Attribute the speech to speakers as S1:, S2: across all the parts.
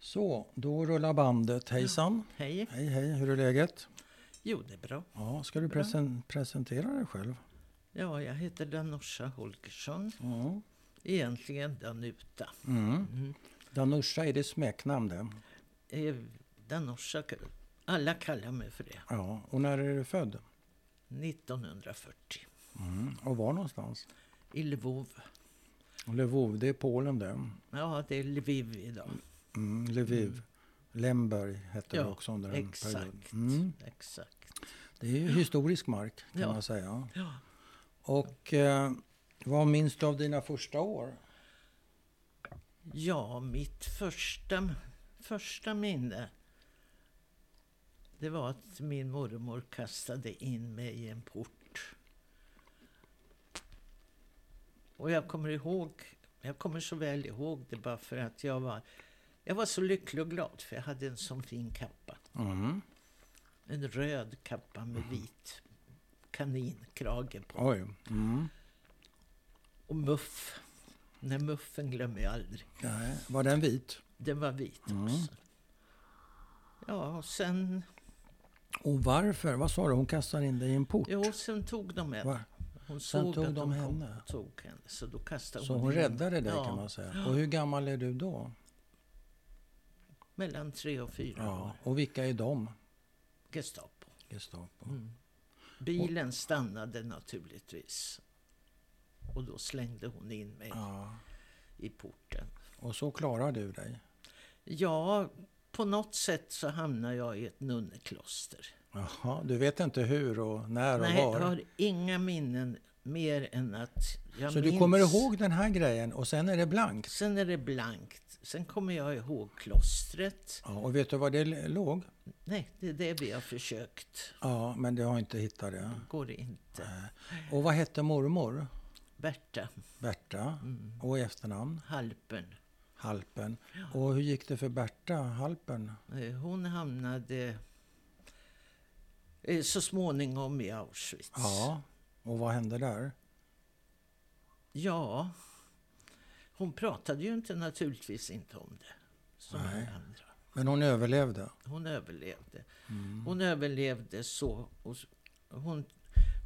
S1: Så, då rullar bandet. Hejsan!
S2: Hej.
S1: Hej hej, hur är läget?
S2: Jo, det är bra.
S1: Ja, ska du
S2: Bra.
S1: presen- presentera dig själv?
S2: Ja, jag heter Danorsa Holgersson.
S1: Ja.
S2: Egentligen Danuta.
S1: Mm.
S2: Mm.
S1: Danusha är det smeknamn det.
S2: Eh, Danorsa, alla kallar mig för det.
S1: Ja, och när är du född?
S2: 1940.
S1: Mm. Och var någonstans?
S2: I Lvov.
S1: Lvov, det är Polen det.
S2: Ja, det är Lviv idag.
S1: Mm, Lviv. Lemberg hette det
S2: Ja,
S1: också under en period.
S2: Exakt.
S1: Mm.
S2: Exakt.
S1: Det är ju historisk mark kan
S2: Ja.
S1: man säga.
S2: Ja.
S1: Och eh, vad minns du av dina första år?
S2: ja, mitt första, första minne det var att min mormor kastade in mig i en port. Och jag kommer ihåg, jag kommer så väl ihåg det bara för att jag var, jag var så lycklig och glad för jag hade en sån fin kappa.
S1: Mm.
S2: En röd kappa med vit kaninkrage på.
S1: Oj. Mm.
S2: Och muff. Den här muffen glömmer jag aldrig.
S1: Nej. Var den vit?
S2: Den var vit
S1: Mm.
S2: också. Ja, och sen,
S1: Och varför? Vad sa du? Hon kastade in dig i en port?
S2: jo, sen tog de henne.
S1: Va?
S2: Hon
S1: Sen
S2: såg
S1: tog de
S2: att de kom
S1: henne?
S2: och tog henne. Så då kastade
S1: Så
S2: hon
S1: hon
S2: in-
S1: räddade dig
S2: ja,
S1: kan man säga. Och hur gammal är du då?
S2: Mellan tre och fyra
S1: Ja.
S2: år.
S1: Och vilka är de?
S2: Gestapo.
S1: Gestapo.
S2: Mm. Bilen stannade naturligtvis. Och då slängde hon in mig
S1: Ja.
S2: i porten.
S1: Och så klarar du dig?
S2: Ja, på något sätt så hamnade jag i ett nunnekloster.
S1: Jaha, du vet inte hur och när och
S2: Nej, jag
S1: var?
S2: har inga minnen mer än att jag
S1: Så
S2: minns...
S1: du kommer ihåg den här grejen och sen är det blankt?
S2: Sen är det blankt. Sen kommer jag ihåg klostret.
S1: Ja, och vet du var det l- låg?
S2: Nej, det är det vi har försökt.
S1: Ja, men du har inte hittat det.
S2: Går inte.
S1: Och vad hette mormor?
S2: Berta
S1: Berta.
S2: Mm.
S1: Och i efternamn?
S2: Halpern.
S1: Halpen. Och hur gick det för Berta Halpen?
S2: eh, Hon hamnade eh, så småningom i Auschwitz.
S1: Ja, och vad hände där?
S2: Ja. Hon pratade ju inte naturligtvis inte om det. Som
S1: Nej.
S2: alla andra.
S1: Men hon överlevde.
S2: Hon överlevde.
S1: Mm.
S2: Hon överlevde så. Och s- hon,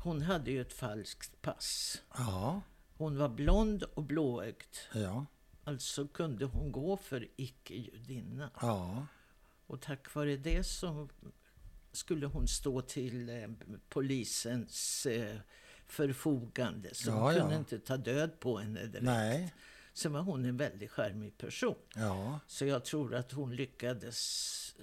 S2: hon hade ju ett falskt pass.
S1: Ja,
S2: Hon var blond och blåögd.
S1: ja,
S2: Alltså kunde hon gå för icke-judinna.
S1: ja.
S2: Och tack vare det så skulle hon stå till eh, polisens eh, förfogande. Så
S1: Ja,
S2: hon
S1: ja.
S2: kunde inte ta död på henne direkt.
S1: Nej,
S2: Sen var hon en väldigt charmig person.
S1: ja.
S2: Så jag tror att hon lyckades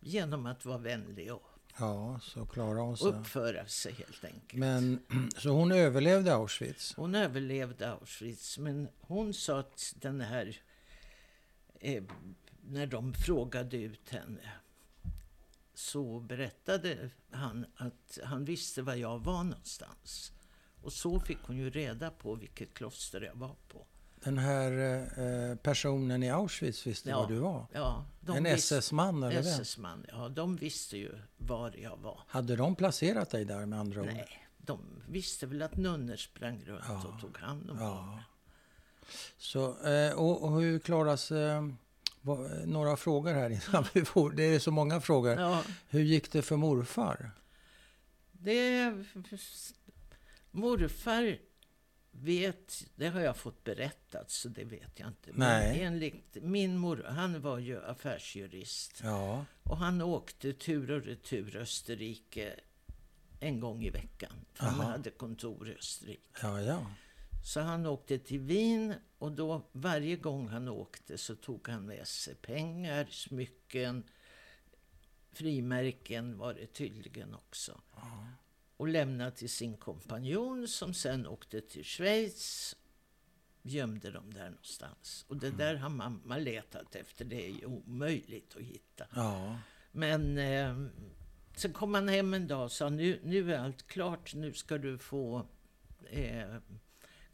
S2: genom att vara vänlig och
S1: Ja, så klarade hon sig.
S2: uppföra sig helt enkelt.
S1: Men, så hon överlevde Auschwitz?
S2: Hon överlevde Auschwitz, men hon sa att den här... Eh, när de frågade ut henne så berättade han att han visste var jag var någonstans. Och så fick hon ju reda på vilket kloster jag var på.
S1: Den här eh, personen i Auschwitz visste
S2: Ja.
S1: var du var?
S2: Ja, de
S1: en
S2: visste-
S1: SS-man eller vem?
S2: SS-man, ja, de visste ju var jag var.
S1: Hade de placerat dig där med andra ord?
S2: Nej, de visste väl att nunnor sprang runt
S1: Ja.
S2: och tog hand om honom.
S1: Ja. Så, eh, och, och hur klaras... Eh, vad- några frågor här innan vi får... Det är så många frågor.
S2: Ja.
S1: Hur gick det för morfar?
S2: Det... Morfar vet... Det har jag fått berättat, så det vet jag inte.
S1: Nej.
S2: Men enligt min mor, han var ju affärsjurist.
S1: Ja,
S2: Och han åkte tur och retur Österrike en gång i veckan. För han
S1: Aha.
S2: hade kontor i Österrike.
S1: ja, ja.
S2: Så han åkte till Wien och då varje gång han åkte så tog han med sig pengar, smycken, frimärken var det tydligen också. Och lämnade till sin kompanjon som sen åkte till Schweiz. Gömde dem där någonstans. Och det
S1: Mm.
S2: där har mamma letat efter. Det är ju omöjligt att hitta.
S1: ja.
S2: Men eh, sen kom han hem en dag och sa nu, nu är allt klart, nu ska du få eh,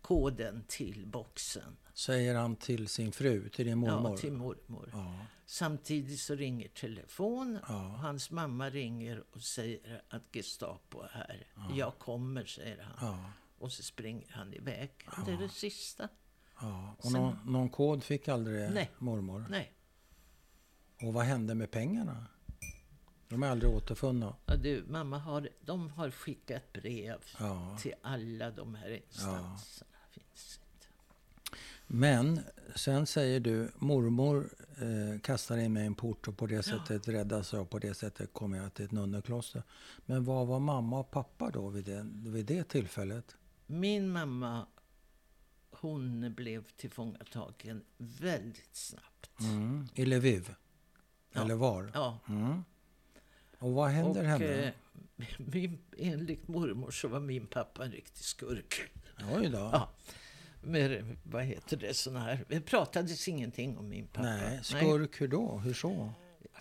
S2: koden till boxen.
S1: Säger han till sin fru, till din mormor?
S2: Ja, till mormor.
S1: ja,
S2: Samtidigt så ringer telefon.
S1: ja.
S2: Hans mamma ringer och säger att Gestapo är här. Jag kommer, säger han.
S1: ja.
S2: Och så springer han iväg. Det är det sista.
S1: Ja, och någon, någon kod fick aldrig
S2: Nej.
S1: mormor?
S2: Nej.
S1: Och vad hände med pengarna? De är aldrig återfunna.
S2: Ja, du, mamma har, de har skickat brev
S1: Ja.
S2: till alla de här instanserna. Finns inte.
S1: Men sen säger du, mormor eh, kastade in mig i en port och på det sättet räddas jag och på det sättet kom jag till ett nunnekloster. Men vad var mamma och pappa då vid det, vid det tillfället?
S2: Min mamma, hon blev tillfångatagen väldigt snabbt.
S1: Mm. I Lviv?
S2: Ja.
S1: Eller var?
S2: Ja,
S1: Mm. Och vad händer
S2: och
S1: henne?
S2: eh, min, enligt mormor så var min pappa en riktig skurk.
S1: Oj då.
S2: Ja. Men, vad heter det, sån här... Det pratades ingenting om min pappa.
S1: Nej, skurk hur då? Hur så?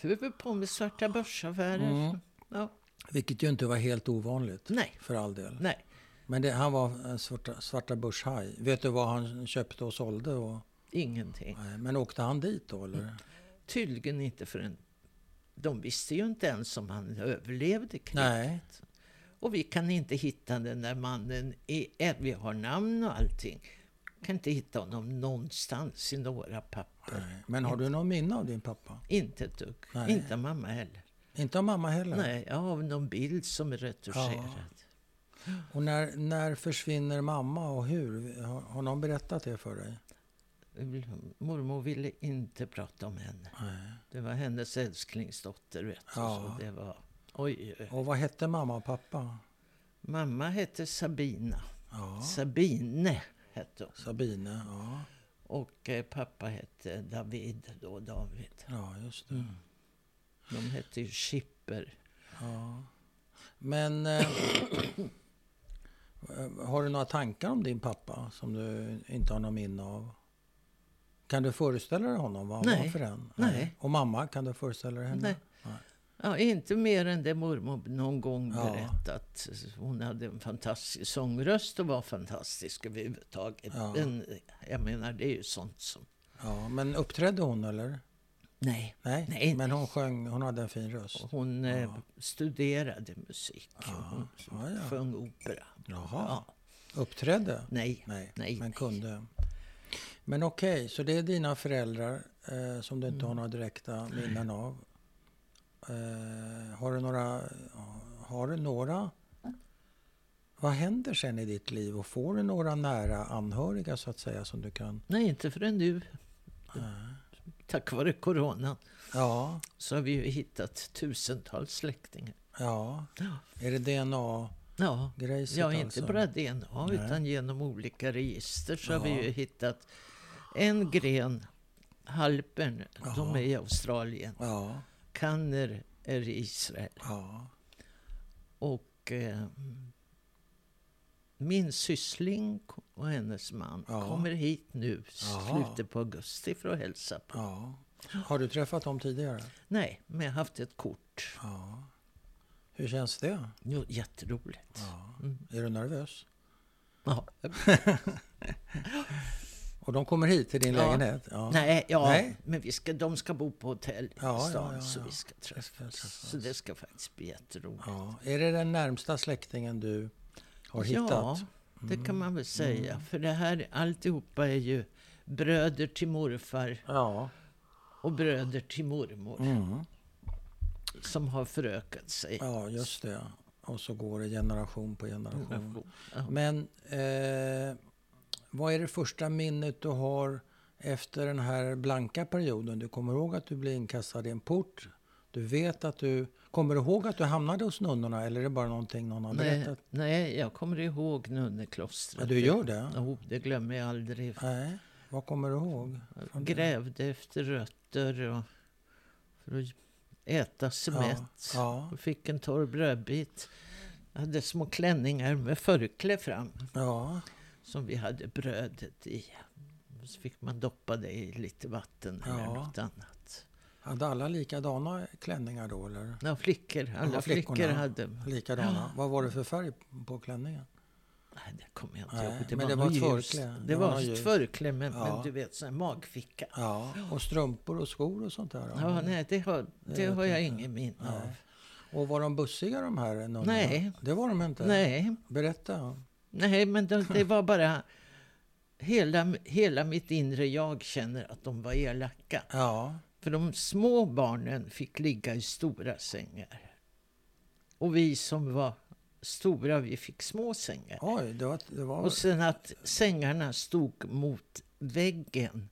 S2: Vi höll på med svarta börsaffärer.
S1: Mm.
S2: Ja.
S1: Vilket ju inte var helt ovanligt.
S2: Nej.
S1: För all del.
S2: Nej,
S1: Men det, han var en svarta, svarta börshaj. Vet du vad han köpte och sålde? Och,
S2: ingenting.
S1: nej, men åkte han dit då eller?
S2: Tydligen inte förrän... De visste ju inte ens om han överlevde kriget.
S1: Nej.
S2: Och vi kan inte hitta den där mannen. I, eh, vi har namn och allting. Kan inte hitta honom någonstans i några papper.
S1: nej. Men har du någon minne av din pappa?
S2: Inte ett dugg.
S1: Nej.
S2: Inte mamma heller.
S1: Inte av mamma heller?
S2: Nej, jag har någon bild som är retuscherad.
S1: Och när, när försvinner mamma och hur? Har, har någon berättat det för dig?
S2: Mormor ville inte prata om henne.
S1: Nej.
S2: Det var hennes älsklingsdotter, vet du.
S1: Ja.
S2: Så det var... Oj, oj.
S1: Och vad hette mamma och pappa?
S2: Mamma hette Sabina.
S1: Ja.
S2: Sabine hette hon.
S1: Sabine, ja.
S2: Och eh, pappa hette David, då David.
S1: Ja, just det.
S2: De hette ju Schipper.
S1: Ja. Men eh, har du några tankar om din pappa som du inte har någon minne av? Kan du föreställa dig honom? Vad han
S2: Nej.
S1: var för en?
S2: Nej.
S1: Och mamma, kan du föreställa dig henne?
S2: Nej. Ja, inte mer än det mormor någon gång
S1: Ja.
S2: berättat. Hon hade en fantastisk sångröst och var fantastisk överhuvudtaget.
S1: Ja.
S2: Men eh, jag menar, det är ju sånt som...
S1: Ja, men uppträdde hon eller?
S2: Nej.
S1: Nej.
S2: Nej.
S1: Men hon sjöng, hon hade en fin röst.
S2: Hon eh, studerade musik. Hon
S1: Ja, ja.
S2: sjöng opera.
S1: Jaha.
S2: Ja.
S1: Uppträdde?
S2: Nej.
S1: Nej.
S2: Nej,
S1: Men
S2: nej.
S1: kunde. Men okej, så det är dina föräldrar eh, som du inte har några direkta minnen av. Eh, har du några... Har du några... Vad händer sen i ditt liv och får du några nära anhöriga så att säga som du kan...
S2: Nej, inte förrän nu. Tack vare coronan
S1: Ja,
S2: så har vi ju hittat tusentals släktingar.
S1: ja.
S2: Ja.
S1: Är det DNA-grejset
S2: Ja, ja inte
S1: alltså?
S2: bara DNA
S1: Nej.
S2: utan genom olika register så har
S1: Jaha.
S2: vi ju hittat en gren, halpern, de
S1: Jaha.
S2: är i Australien.
S1: Ja,
S2: Kanner är i Israel.
S1: ja.
S2: Och eh, min syssling och hennes man
S1: Ja.
S2: kommer hit nu
S1: Jaha.
S2: slutet på augusti för att hälsa på.
S1: ja. Har du träffat dem tidigare?
S2: Nej, men jag har haft ett kort.
S1: Ja. Hur känns det?
S2: Jo, jätteroligt.
S1: Ja. Är du nervös?
S2: Ja.
S1: Och de kommer hit till din
S2: Ja.
S1: lägenhet? Ja.
S2: Nej, ja,
S1: Nej.
S2: men vi ska, de ska bo på hotell i
S1: Ja, ja,
S2: stan
S1: ja,
S2: så
S1: ja.
S2: vi ska träffas.
S1: ska träffas.
S2: Så det ska faktiskt bli jätteroligt.
S1: Ja. Är det den närmsta släktingen du har hittat? Mm.
S2: Ja, det kan man väl säga. För det här alltihopa är ju bröder till morfar
S1: Ja.
S2: och bröder till mormor
S1: Mm.
S2: som har förökat sig.
S1: ja, just det. Och så går det generation på generation.
S2: Mm. Ja.
S1: Men eh, vad är det första minnet du har efter den här blanka perioden? Du kommer ihåg att du blir inkastad i en port. Du vet att du... Kommer du ihåg att du hamnade hos nunnorna eller är det bara någonting någon har
S2: Nej,
S1: berättat?
S2: nej, jag kommer ihåg
S1: Ja,
S2: nunneklostret.
S1: du gör det?
S2: Jo, det glömmer jag aldrig.
S1: Nej. Vad kommer du ihåg?
S2: Jag grävde efter rötter och för att äta sig mätt.
S1: Ja.
S2: Och fick en torr brödbit. Jag hade små klänningar med förkläde fram
S1: Ja.
S2: som vi hade brödet i. Och Så fick man doppa det i lite vatten eller
S1: Ja.
S2: något annat.
S1: Hade alla likadana klänningar då eller?
S2: Ja, flickor. Alla
S1: Ja,
S2: flickor
S1: flickorna.
S2: hade...
S1: Likadana? Vad var det för färg på klänningen?
S2: Nej, det kommer jag inte
S1: Nej,
S2: ihåg. Det
S1: men
S2: var,
S1: det var
S2: något
S1: ett
S2: ljust.
S1: förkläde.
S2: Det,
S1: Det var
S2: var
S1: något
S2: ett
S1: ljust.
S2: förkläde, men, men
S1: Ja.
S2: du vet, sån här magficka. Ja,
S1: Ja, och strumpor och skor och sånt där?
S2: nej, det har, det
S1: vet
S2: har jag
S1: jag
S2: ingen minne av.
S1: Nej. Och var de bussiga de här nunnorna?
S2: Nej.
S1: Det var de inte?
S2: Nej,
S1: Berätta.
S2: nej men det, det var bara... Hela, hela mitt inre jag känner att de var elaka.
S1: Ja,
S2: För de små barnen fick ligga i stora sängar. Och vi som var stora, vi fick små sängar.
S1: Oj, det var... Det var
S2: Och sen att sängarna stod mot väggen.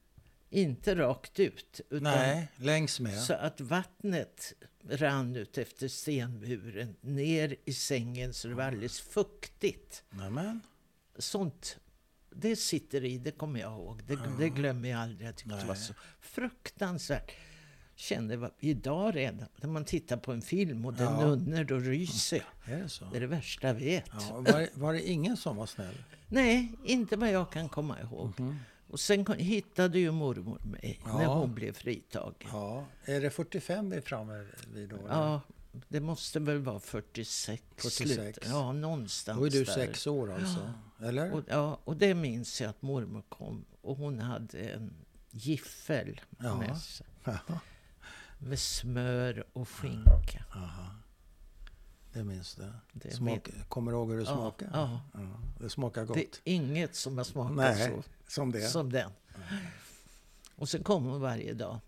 S2: Inte rakt ut, utan
S1: nej, längs med.
S2: så att vattnet rann ut efter stenmuren ner i sängen så det var alldeles fuktigt.
S1: Nämen.
S2: Sånt, det sitter i, det kommer jag ihåg. Det, det glömmer jag aldrig. Jag tyckte det var
S1: Nej.
S2: så fruktansvärt. Känner vad- idag redan, när man tittar på en film och det är
S1: Ja.
S2: nunnor, då ryser jag.
S1: Är det så?
S2: Det är det värsta jag vet.
S1: Ja, var, var det ingen som var snäll?
S2: Nej, inte vad jag kan komma ihåg. Och sen kom, hittade ju mormor mig när
S1: Ja.
S2: hon blev fritagen.
S1: Ja. Är det 45 vi är framme vid då? eller?
S2: Ja, det måste väl vara 46.
S1: 46.
S2: slut. Ja, någonstans
S1: Då är du
S2: där.
S1: sex år alltså? Eller?
S2: Och, ja, och det minns jag att mormor kom och hon hade en giffel
S1: Ja.
S2: med sig.
S1: Ja,
S2: Med smör och skinka.
S1: det minns du.
S2: Det
S1: Smak, kommer du ihåg hur det
S2: Ja,
S1: smakar?
S2: ja.
S1: Det smakar gott.
S2: Det är inget som har smakat
S1: Nej, som
S2: så
S1: det.
S2: som den. Och sen kom hon varje dag.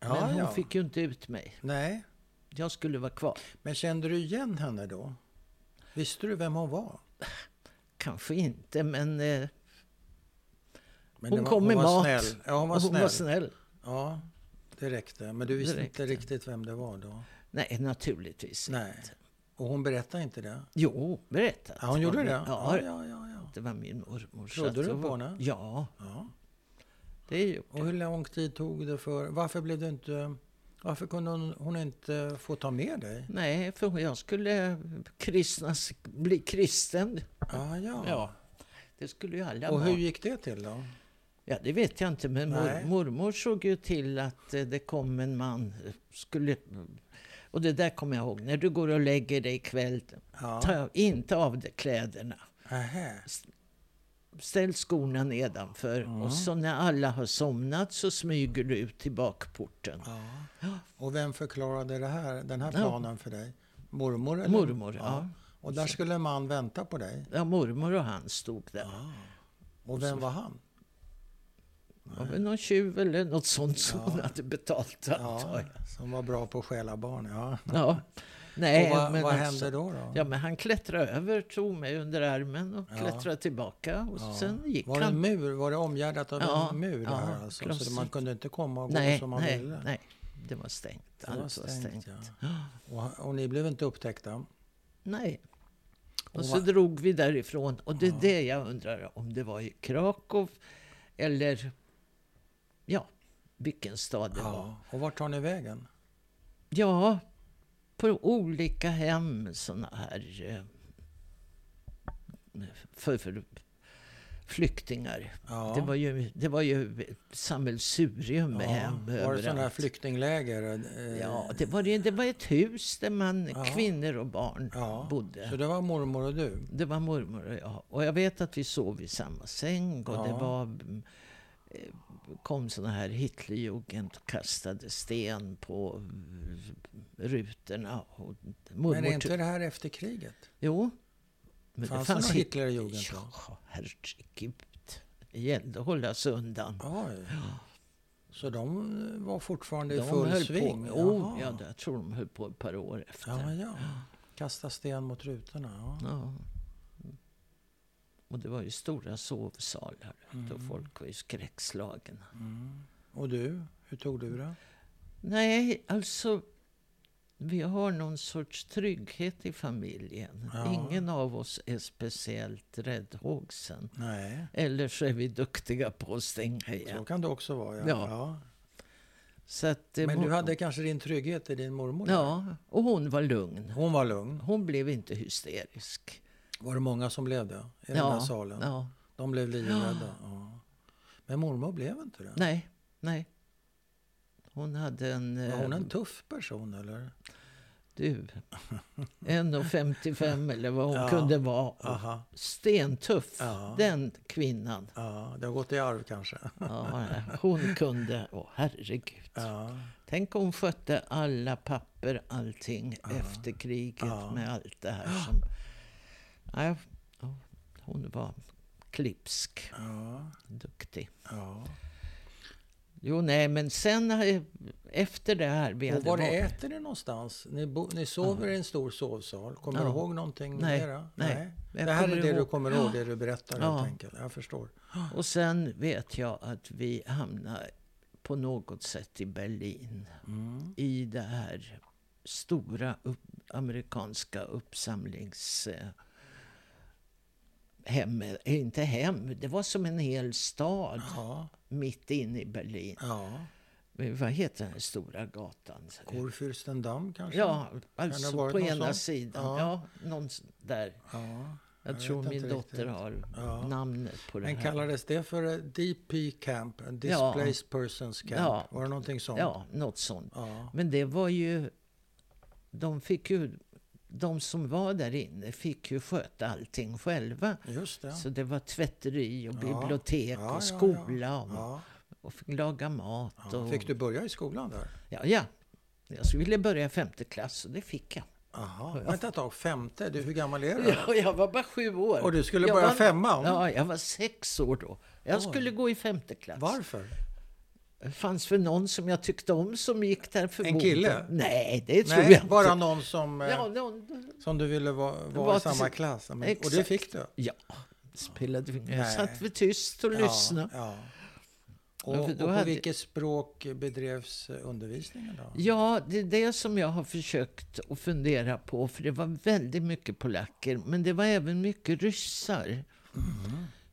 S1: ja,
S2: Men hon
S1: ja.
S2: fick ju inte ut mig.
S1: Nej,
S2: Jag skulle vara kvar.
S1: men kände du igen henne då? Visste du vem hon var?
S2: Kanske inte, men eh,
S1: Men
S2: Hon
S1: det var,
S2: kom
S1: hon
S2: med
S1: var
S2: mat.
S1: Snäll. Ja, hon var snäll.
S2: snäll.
S1: Ja, det räckte. Men du visste
S2: Det
S1: inte riktigt vem det var då?
S2: Nej, naturligtvis
S1: Nej.
S2: inte.
S1: Och hon berättade inte det?
S2: Jo, berätta.
S1: Ja, hon gjorde det?
S2: Ja,
S1: ja, ja. ja.
S2: det var min mormor. så
S1: Trodde
S2: att
S1: du
S2: jag
S1: på
S2: var-
S1: henne?
S2: Ja,
S1: ja.
S2: det gjorde
S1: Och hur lång tid tog det för... Varför blev det inte... Varför kunde hon, hon inte få ta med dig?
S2: Nej, för jag skulle kristnas, bli kristen.
S1: Ah, ja,
S2: Ja, det skulle ju alla
S1: Och
S2: vara.
S1: hur gick det till då?
S2: Ja, det vet jag inte, men mor,
S1: Nej.
S2: mormor såg ju till att eh, det kom en man. eh, Skulle, och det där kommer jag ihåg. När du går och lägger dig ikväll,
S1: Ja.
S2: ta inte av dig kläderna.
S1: Aha.
S2: Ställ skorna nedanför och så när alla har somnat så smyger du ut till bakporten.
S1: Ja. Och vem förklarade det här, den här
S2: Ja.
S1: planen för dig? Mormor? Eller?
S2: Mormor, ja.
S1: Och där skulle en man vänta på dig.
S2: ja. Mormor och han stod där.
S1: Och vem var han?
S2: Var väl någon tjuv eller något sånt som hon hade betalt antar
S1: Ja,
S2: jag.
S1: som var bra på att stjäla barn. Ja.
S2: Ja. Nej,
S1: och vad,
S2: men
S1: vad
S2: alltså-
S1: hände då? då?
S2: Ja, men han klättrade över, tog mig under armen och
S1: Ja.
S2: klättrade tillbaka och
S1: Ja.
S2: sen gick
S1: var det
S2: han.
S1: en mur? Var det omgärdat av
S2: Ja,
S1: en mur?
S2: ja,
S1: här, alltså? Så
S2: klossigt.
S1: man kunde inte komma och gå
S2: nej,
S1: som man
S2: nej,
S1: ville?
S2: nej, det var stängt.
S1: Det var
S2: Allt var stängt.
S1: ja. och, och ni blev inte upptäckta?
S2: Nej. Och,
S1: Och
S2: så
S1: vad-
S2: drog vi därifrån. Och det är det jag undrar om det var i Krakow eller ja, vilken stad det var.
S1: Ja. Och vart tar ni vägen?
S2: Ja, på olika hem såna här eh, för, för flyktingar.
S1: Ja.
S2: Det, var ju, det var ju ett sammelsurium med
S1: Ja. Var
S2: hem
S1: det sådana här
S2: överallt.
S1: flyktingläger? eh,
S2: Ja, det var, det, det var ett hus där man,
S1: Ja.
S2: kvinnor och barn
S1: ja.
S2: bodde.
S1: Så det var mormor och du?
S2: Det var mormor och jag. Och jag vet att vi sov i samma säng. Och det
S1: Ja.
S2: var, mm, eh, kom såna här Hitlerjugend och kastade sten på mm, rutorna. Och mormor
S1: Men är
S2: ty-
S1: inte det här efter kriget?
S2: Jo. Men
S1: Fanns
S2: det
S1: det
S2: fanns
S1: någon
S2: Hit-
S1: Hitlerjugend då?
S2: Ja, herregud. Det gällde att hålla sig undan.
S1: Oj. Så de var fortfarande i
S2: de
S1: full
S2: höll
S1: sving?
S2: på. Oh,
S1: Jaha.
S2: ja, jag tror de höll på ett par år efter.
S1: ja, ja. Kasta sten mot rutorna. Ja.
S2: Ja. Och det var ju stora sovsalar. Och
S1: Mm.
S2: folk var ju skräckslagna.
S1: Och du? Hur tog du det?
S2: Nej, alltså... Vi har någon sorts trygghet i familjen.
S1: Ja.
S2: Ingen av oss är speciellt räddhågsen.
S1: Nej.
S2: Eller så är vi duktiga på att stänga
S1: Så
S2: igen.
S1: kan det också vara. Ja.
S2: Ja. Så att, det
S1: Men
S2: må-
S1: du hade kanske din trygghet i din mormor?
S2: Ja, och hon var lugn.
S1: Hon var lugn.
S2: Hon blev inte hysterisk.
S1: Var det många som blev det? I den
S2: ja,
S1: här salen?
S2: ja.
S1: De blev livrädda? Ja. Men mormor blev inte det?
S2: Nej, nej. Hon hade en...
S1: Var
S2: eh,
S1: hon en tuff person eller?
S2: Du, 1,55 eller vad hon
S1: Ja.
S2: kunde vara.
S1: Aha.
S2: Stentuff,
S1: Ja.
S2: den kvinnan.
S1: Ja, det har gått i arv kanske.
S2: Ja, hon kunde, åh herregud.
S1: Ja.
S2: Tänk om hon skötte alla papper, allting efter kriget
S1: Ja.
S2: med allt det här som... Nej, ja, hon var klipsk,
S1: Ja.
S2: duktig.
S1: ja.
S2: Jo, nej, men sen eh, efter det här... Vi
S1: Och
S2: hade
S1: var
S2: varit-
S1: äter ni någonstans? Ni, bo, ni sover i en stor sovsal. Kommer
S2: Ja.
S1: du ihåg någonting
S2: Nej,
S1: mera?
S2: nej. Jag
S1: Det här är
S2: kommer
S1: det du
S2: ihåg-
S1: kommer ihåg, det du berättar
S2: Ja.
S1: helt enkelt. Jag förstår.
S2: Och sen vet jag att vi hamnade på något sätt i Berlin.
S1: Mm.
S2: I det här stora upp, amerikanska uppsamlingshemmet. Hem, eh, inte hem, det var som en hel stad
S1: Ja,
S2: mitt inne i Berlin.
S1: ja.
S2: Men Vad heter den här stora gatan?
S1: Kurfürstendamm kanske?
S2: Ja,
S1: Kan det
S2: alltså
S1: ha varit
S2: på
S1: någon
S2: ena
S1: sån?
S2: sidan. Ja.
S1: Ja.
S2: någon s- där.
S1: ja.
S2: Jag,
S1: Jag
S2: tror
S1: vet
S2: min
S1: inte
S2: dotter
S1: riktigt.
S2: har
S1: Ja.
S2: namnet på det
S1: Men
S2: här.
S1: kallades det för eh, DP Camp? En Displaced Persons Camp?
S2: Ja.
S1: Var det någonting sånt?
S2: Ja, något sånt.
S1: Ja.
S2: Men det var ju... De fick ju... De som var där inne fick ju sköta allting själva.
S1: Just det.
S2: Så det var tvätteri och
S1: Ja.
S2: bibliotek
S1: Ja, ja,
S2: och skola
S1: ja.
S2: och,
S1: Ja.
S2: och fick laga mat.
S1: Ja.
S2: Och,
S1: Fick du börja i skolan där?
S2: Ja, ja. Jag skulle vilja börja i femte klass och det fick jag.
S1: Aha. Vänta ett tag, femte? Du, hur gammal är du?
S2: Ja, jag var bara sju år.
S1: Och du skulle
S2: Jag
S1: börja
S2: var-
S1: femman?
S2: Ja, jag var sex år då. Jag
S1: Oj.
S2: skulle gå i femte klass.
S1: Varför?
S2: Det fanns väl någon som jag tyckte om som gick där förmodligen.
S1: kille?
S2: Nej, det tror
S1: Nej,
S2: jag
S1: bara
S2: inte.
S1: någon som, eh,
S2: Ja, någon...
S1: som du ville va- vara
S2: Var
S1: i samma
S2: till-
S1: klass. Ja, men- Och det
S2: Exakt.
S1: fick du?
S2: Ja, det spelade ingen roll. Jag
S1: Nej.
S2: satt väl tyst och lyssnade. Ja.
S1: Ja, ja.
S2: Ja,
S1: Och,
S2: för
S1: och
S2: då
S1: på
S2: hade-
S1: vilket språk bedrevs eh, undervisningen då?
S2: det är det som jag har försökt att fundera på. För det var väldigt mycket polacker, men det var även mycket ryssar.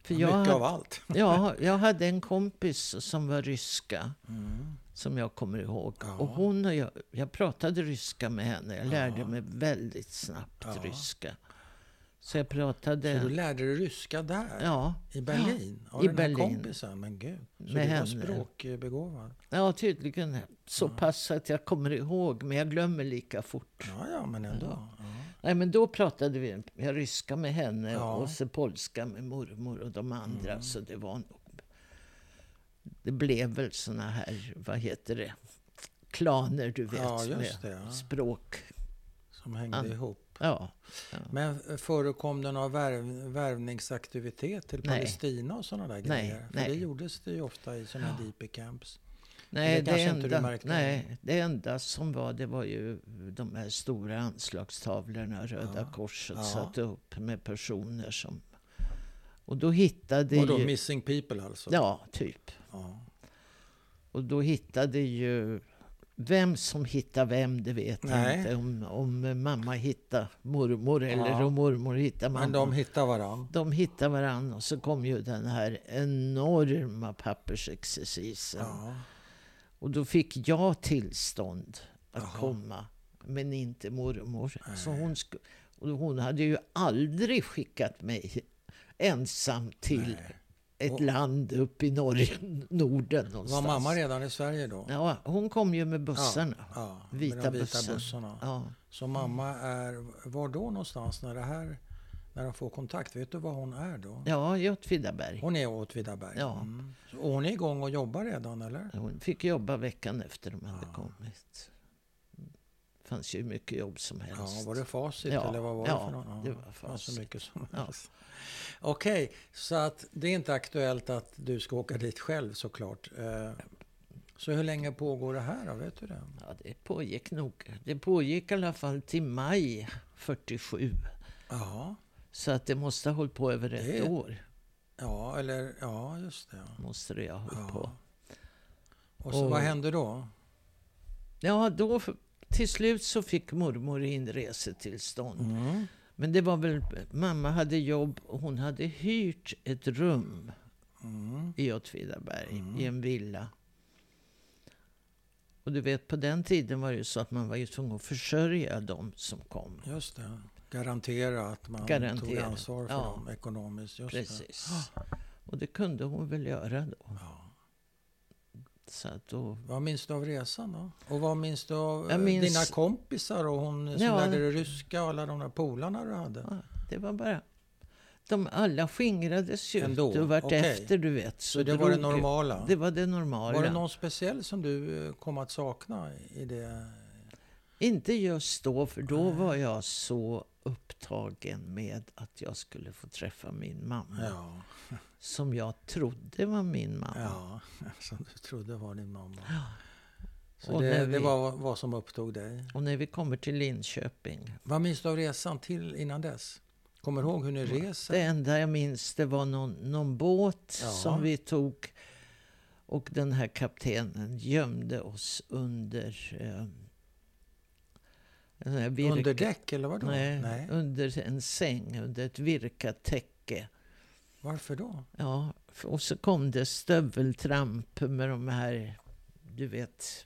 S2: För jag,
S1: Mm. Mycket av
S2: hade,
S1: allt.
S2: ja, jag hade en kompis som var ryska,
S1: Mm.
S2: som jag kommer ihåg. Och hon och jag, jag pratade ryska med henne. Jag lärde mig väldigt snabbt ryska. Så jag pratade...
S1: Så du lärde dig ryska där?
S2: Ja,
S1: I Berlin? Av
S2: i
S1: den här
S2: Berlin.
S1: kompisen? Men gud. Så
S2: Med
S1: du var
S2: henne.
S1: språkbegåvad?
S2: ja, tydligen så pass att jag kommer ihåg, men jag glömmer lika fort.
S1: Ja, ja, men ändå. Ja.
S2: Nej, men då pratade vi jag ryska med henne
S1: Ja. Mm.
S2: och så polska med mormor och de andra. Så det var nog... Det blev väl såna här, vad heter det, klaner du vet.
S1: Ja, just
S2: med
S1: det, ja.
S2: Språk.
S1: Som hängde
S2: An-
S1: ihop.
S2: Ja.
S1: Men förekom det någon värv, värvningsaktivitet till
S2: Nej.
S1: Palestina och sådana där
S2: Nej,
S1: grejer? För
S2: nej.
S1: det gjordes det ju ofta i sådana här DP camps.
S2: Nej, det,
S1: kanske inte du
S2: enda,
S1: märkte.
S2: nej, det enda som var det var ju de här stora anslagstavlorna Röda Korset
S1: Ja.
S2: satte upp med personer som... Och då hittade
S1: Vadå,
S2: ju...
S1: missing people alltså?
S2: Ja, typ.
S1: Ja.
S2: Och då hittade ju... Vem som hittade vem, det vet jag
S1: Nej.
S2: inte. Om, om mamma hittade mormor eller
S1: Ja.
S2: om mormor hittade mamma.
S1: Men de hittar varann?
S2: de hittade varandra och så kom ju den här enorma pappersexercisen.
S1: Ja.
S2: Och då fick jag tillstånd att
S1: Jaha.
S2: komma, men inte mormor. Så hon, sku- och hon hade ju aldrig skickat mig ensam till ett
S1: Och-
S2: land uppe i norr, Norden
S1: Var
S2: någonstans.
S1: mamma redan i Sverige då?
S2: Ja, hon kom ju med bussarna. Ja.
S1: Ja,
S2: Vita
S1: med de vita
S2: bussen.
S1: bussarna. Så mamma är, var då någonstans när det här, när de får kontakt? Vet du var hon är då?
S2: Ja, i Åtvidaberg.
S1: Hon är åt Vidaberg?
S2: Ja.
S1: Mm. Så- Och hon är igång och jobbar redan eller?
S2: Hon fick jobba veckan efter de hade kommit. Det fanns ju hur mycket jobb som helst.
S1: Ja, var det facit
S2: Ja,
S1: eller vad var
S2: ja,
S1: det för någon?
S2: det var
S1: fanns
S2: facit.
S1: Så mycket som
S2: Ja.
S1: helst. Okej, så att det är inte aktuellt att du ska åka dit själv såklart. Eh, Så hur länge pågår det här då? Vet du det?
S2: Ja, det pågick nog. Det pågick i alla fall till maj 47.
S1: Jaha.
S2: Så att det måste ha hållit på över ett
S1: Det-
S2: år.
S1: Ja, eller ja, just det. ja.
S2: Måste det ha hållit
S1: Ja.
S2: på.
S1: Och så
S2: Och-
S1: vad hände då?
S2: Ja, då f- till slut så fick mormor inresetillstånd.
S1: Mm.
S2: Men det var väl, mamma hade jobb och hon hade hyrt ett rum
S1: Mm.
S2: i Åtvidaberg i en villa. Och du vet på den tiden var det ju så att man var ju tvungen att försörja de som kom.
S1: Just det. Garantera att man tog
S2: Garantera,
S1: ansvar för
S2: ja.
S1: dem ekonomiskt. Just Det.
S2: Precis. Och det kunde hon väl göra då. Så att då...
S1: Vad minns du av resan då? Och vad minns du av
S2: Jag
S1: eh,
S2: minns-
S1: dina kompisar och hon som
S2: Ja.
S1: lärde dig ryska och alla de där polarna du hade?
S2: Ja, det var bara... De alla skingrades ju
S1: Ändå,
S2: ut och vart
S1: okej.
S2: efter du vet. Så
S1: Så det var det
S2: drog ju-
S1: normala?
S2: Det var det normala.
S1: Var det någon speciell som du eh, kom att sakna i det?
S2: Inte just då, för då var jag så upptagen med att jag skulle få träffa min mamma.
S1: Ja,
S2: Som jag trodde var min mamma.
S1: ja. som du trodde var din mamma. Så
S2: Och
S1: det,
S2: när
S1: det
S2: vi-
S1: var vad som upptog dig.
S2: Och när vi kommer till Linköping.
S1: Vad minns du av resan till innan dess? Kommer du ihåg hur ni reser?
S2: Mm. Det enda jag minns det var någon, någon båt
S1: Ja.
S2: som vi tog. Och den här kaptenen gömde oss under... Eh, den här virka-
S1: Under däck eller vadå?
S2: Nej,
S1: Nej.
S2: under en säng, under ett virkatäcke.
S1: Varför då?
S2: Ja, f- och så kom det stöveltramp med de här, du vet,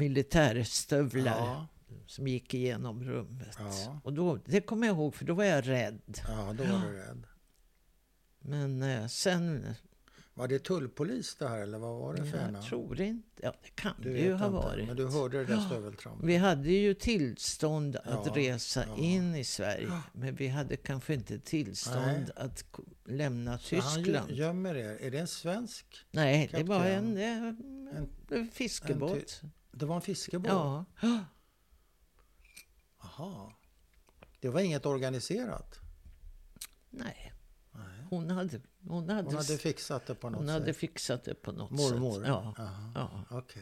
S2: militärstövlar
S1: Ja,
S2: som gick igenom rummet.
S1: Ja.
S2: Och då, det kommer jag ihåg, för då var jag rädd.
S1: ja, då var du rädd.
S2: Men eh, sen,
S1: Var det tullpolis det här eller vad var det för ena?
S2: jag tror inte, ja det kan
S1: Du
S2: det ju
S1: vet
S2: ha
S1: inte,
S2: varit.
S1: Men du hörde det där stöveltrampet?
S2: Vi hade ju tillstånd att
S1: Ja,
S2: resa
S1: ja.
S2: in i Sverige, men vi hade kanske inte tillstånd
S1: Nej.
S2: att k- lämna
S1: Så han gö-
S2: Tyskland.
S1: gömmer er. Är det en svensk?
S2: Nej, det var
S1: kapten.
S2: en, eh, en fiskebåt.
S1: Det var en fiskebåt?
S2: ja.
S1: Aha. Det var inget organiserat?
S2: Nej,
S1: Nej.
S2: hon hade, hon hade,
S1: Hon hade fixat det på något
S2: hon hade
S1: sätt?
S2: fixat det på något
S1: Mormor?
S2: sätt. Ja.
S1: Aha.
S2: Ja.
S1: Okej.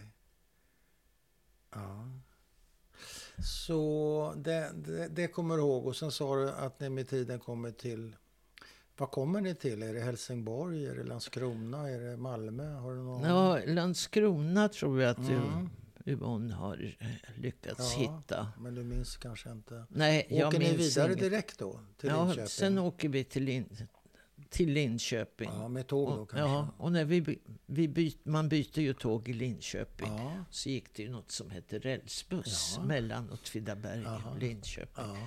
S1: Ja. Så det, det, det kommer du ihåg. Och sen sa du att ni med tiden kommer till... Vad kommer ni till? Är det Helsingborg? Är det Landskrona? Är det Malmö? Har du någon?
S2: ja, Landskrona tror jag att du,
S1: Mm.
S2: Yvonne har eh, lyckats
S1: Ja.
S2: hitta.
S1: Men du minns kanske inte.
S2: Nej, jag
S1: Åker ni
S2: minns
S1: vidare
S2: inget.
S1: direkt då? Till
S2: ja,
S1: Linköping?
S2: Sen åker vi till, Lin, till Linköping.
S1: Ja, med tåg då
S2: och,
S1: kanske?
S2: ja, och när vi, by- vi byt, man byter ju tåg i Linköping.
S1: Ja.
S2: Så gick det ju något som hette rälsbuss
S1: Ja.
S2: mellan Åtvidaberg
S1: Jaha.
S2: och Linköping.
S1: ja.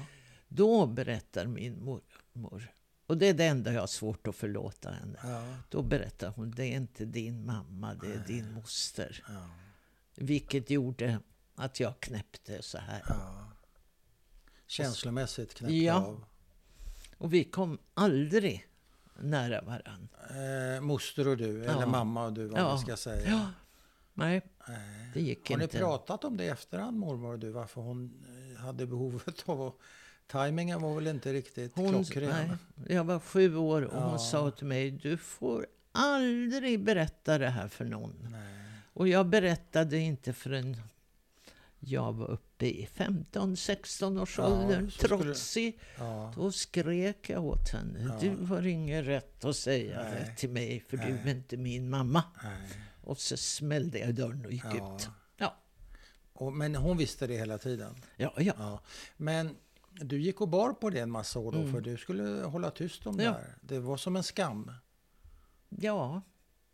S2: Då berättar min mormor, och det är det enda jag har svårt att förlåta henne.
S1: ja.
S2: Då berättar hon, det är inte din mamma, det är din moster.
S1: ja.
S2: Vilket gjorde att jag knäppte så här.
S1: Ja. Känslomässigt knäppt
S2: Ja.
S1: av.
S2: Och vi kom aldrig nära varann.
S1: Eh, moster och du, eller
S2: Ja.
S1: mamma och du vad
S2: Ja.
S1: vi ska säga.
S2: Ja, nej,
S1: Eh,
S2: det gick
S1: Har ni
S2: inte.
S1: pratat om det i efterhand mormor och du? Varför hon eh, hade behovet av att... Timingen var väl inte riktigt
S2: hon,
S1: klockren?
S2: nej, jag var sju år och
S1: Ja.
S2: hon sa till mig, du får aldrig berätta det här för någon.
S1: Nej.
S2: Och jag berättade inte förrän jag var uppe i 15-16 års
S1: Ja,
S2: ålder,
S1: så skulle-
S2: trotsig.
S1: Ja.
S2: Då skrek jag åt henne.
S1: Ja.
S2: Du har ingen rätt att säga
S1: Nej.
S2: det till mig för
S1: Nej.
S2: du är inte min mamma.
S1: Nej.
S2: Och så smällde jag i dörren och gick
S1: Ja.
S2: ut. Ja,
S1: Och, men hon visste det hela tiden?
S2: ja, ja.
S1: Ja. Men du gick och bar på det en massa år då, för du skulle hålla tyst om det
S2: Mm. Ja.
S1: här. Det var som en skam.
S2: ja.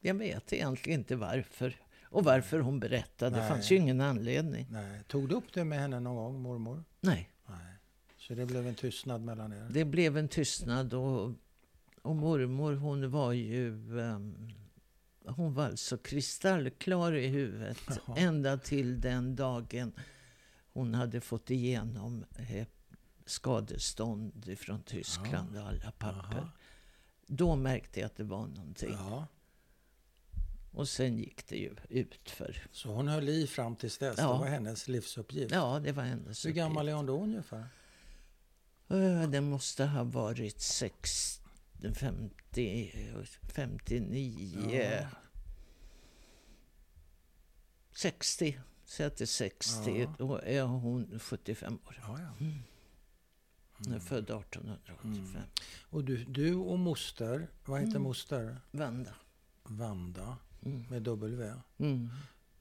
S2: Jag vet egentligen inte varför. Och varför hon berättade. Det
S1: Nej.
S2: fanns ju ingen anledning.
S1: Nej. Tog du upp det med henne någon gång, mormor?
S2: Nej,
S1: Nej. Så det blev en tystnad mellan er?
S2: det blev en tystnad. Och, och mormor hon var ju... ehm, hon var alltså kristallklar i huvudet.
S1: Jaha.
S2: Ända till den dagen hon hade fått igenom eh, skadestånd från Tyskland och alla papper.
S1: Jaha.
S2: Då märkte jag att det var någonting.
S1: Ja.
S2: Och sen gick det ju ut för.
S1: Så hon höll i fram tills dess?
S2: Ja.
S1: Det var hennes livsuppgift?
S2: Ja, det var hennes
S1: Hur gammal är hon då ungefär?
S2: hon? Eh, Det måste ha varit 60, 50, 59...
S1: Ja.
S2: 60. Säg att det är 60.
S1: Ja.
S2: Då är hon 75 år.
S1: Ja, ja.
S2: Mm. Hon
S1: Mm.
S2: är född 1885.
S1: Och du, du och moster, vad
S2: Mm.
S1: heter moster?
S2: Vanda.
S1: Vanda
S2: Mm.
S1: med W.
S2: Mm.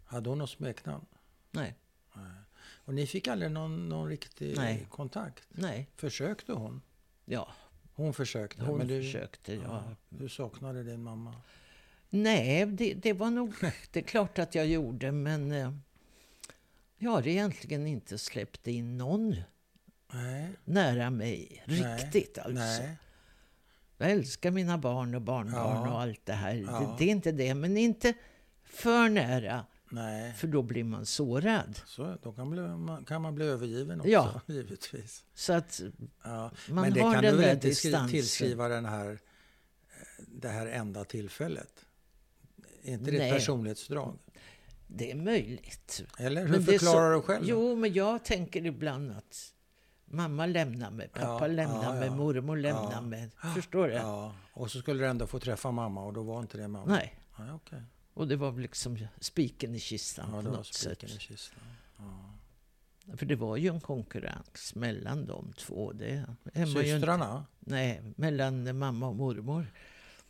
S1: Hade hon något smeknamn?
S2: Nej,
S1: Och ni fick aldrig någon, någon riktig
S2: Nej.
S1: kontakt?
S2: nej.
S1: Försökte hon?
S2: Ja,
S1: Hon försökte.
S2: hon
S1: men du,
S2: försökte. Ja.
S1: Ja, du saknade din mamma?
S2: Nej, det, det var nog... Det är klart att jag gjorde, men... eh, Jag har egentligen inte släppt in någon
S1: Nej.
S2: nära mig.
S1: Nej.
S2: Riktigt alltså.
S1: Nej.
S2: Jag älskar mina barn och barnbarn
S1: Ja.
S2: och allt det här.
S1: Ja.
S2: Det, det är inte det, men inte för nära.
S1: Nej.
S2: För då blir man sårad.
S1: Så, då kan, bli, man, kan man bli övergiven också,
S2: Ja.
S1: givetvis.
S2: Så att
S1: Ja.
S2: man
S1: Men det
S2: har
S1: kan
S2: den
S1: du väl
S2: där
S1: inte skri-
S2: distansen.
S1: tillskriva den här, eh, det här enda tillfället? Är inte det ett
S2: Nej.
S1: personlighetsdrag?
S2: Det är möjligt.
S1: Eller hur
S2: Men det är
S1: förklarar du
S2: så-
S1: själv?
S2: Jo, men jag tänker ibland att mamma lämnar mig, pappa
S1: Ja,
S2: lämnar
S1: ja,
S2: mig,
S1: ja.
S2: mormor lämnar
S1: Ja.
S2: mig. Förstår du?
S1: Ja, och så skulle du ändå få träffa mamma och då var inte det mamma?
S2: Nej.
S1: Ja, okej.
S2: Och det var väl liksom spiken i kistan
S1: Ja,
S2: på
S1: det var
S2: något
S1: spiken i
S2: sätt.
S1: kistan.
S2: För det var ju en konkurrens mellan de två. Det är man ju inte,
S1: Systrarna?
S2: nej, mellan mamma och mormor.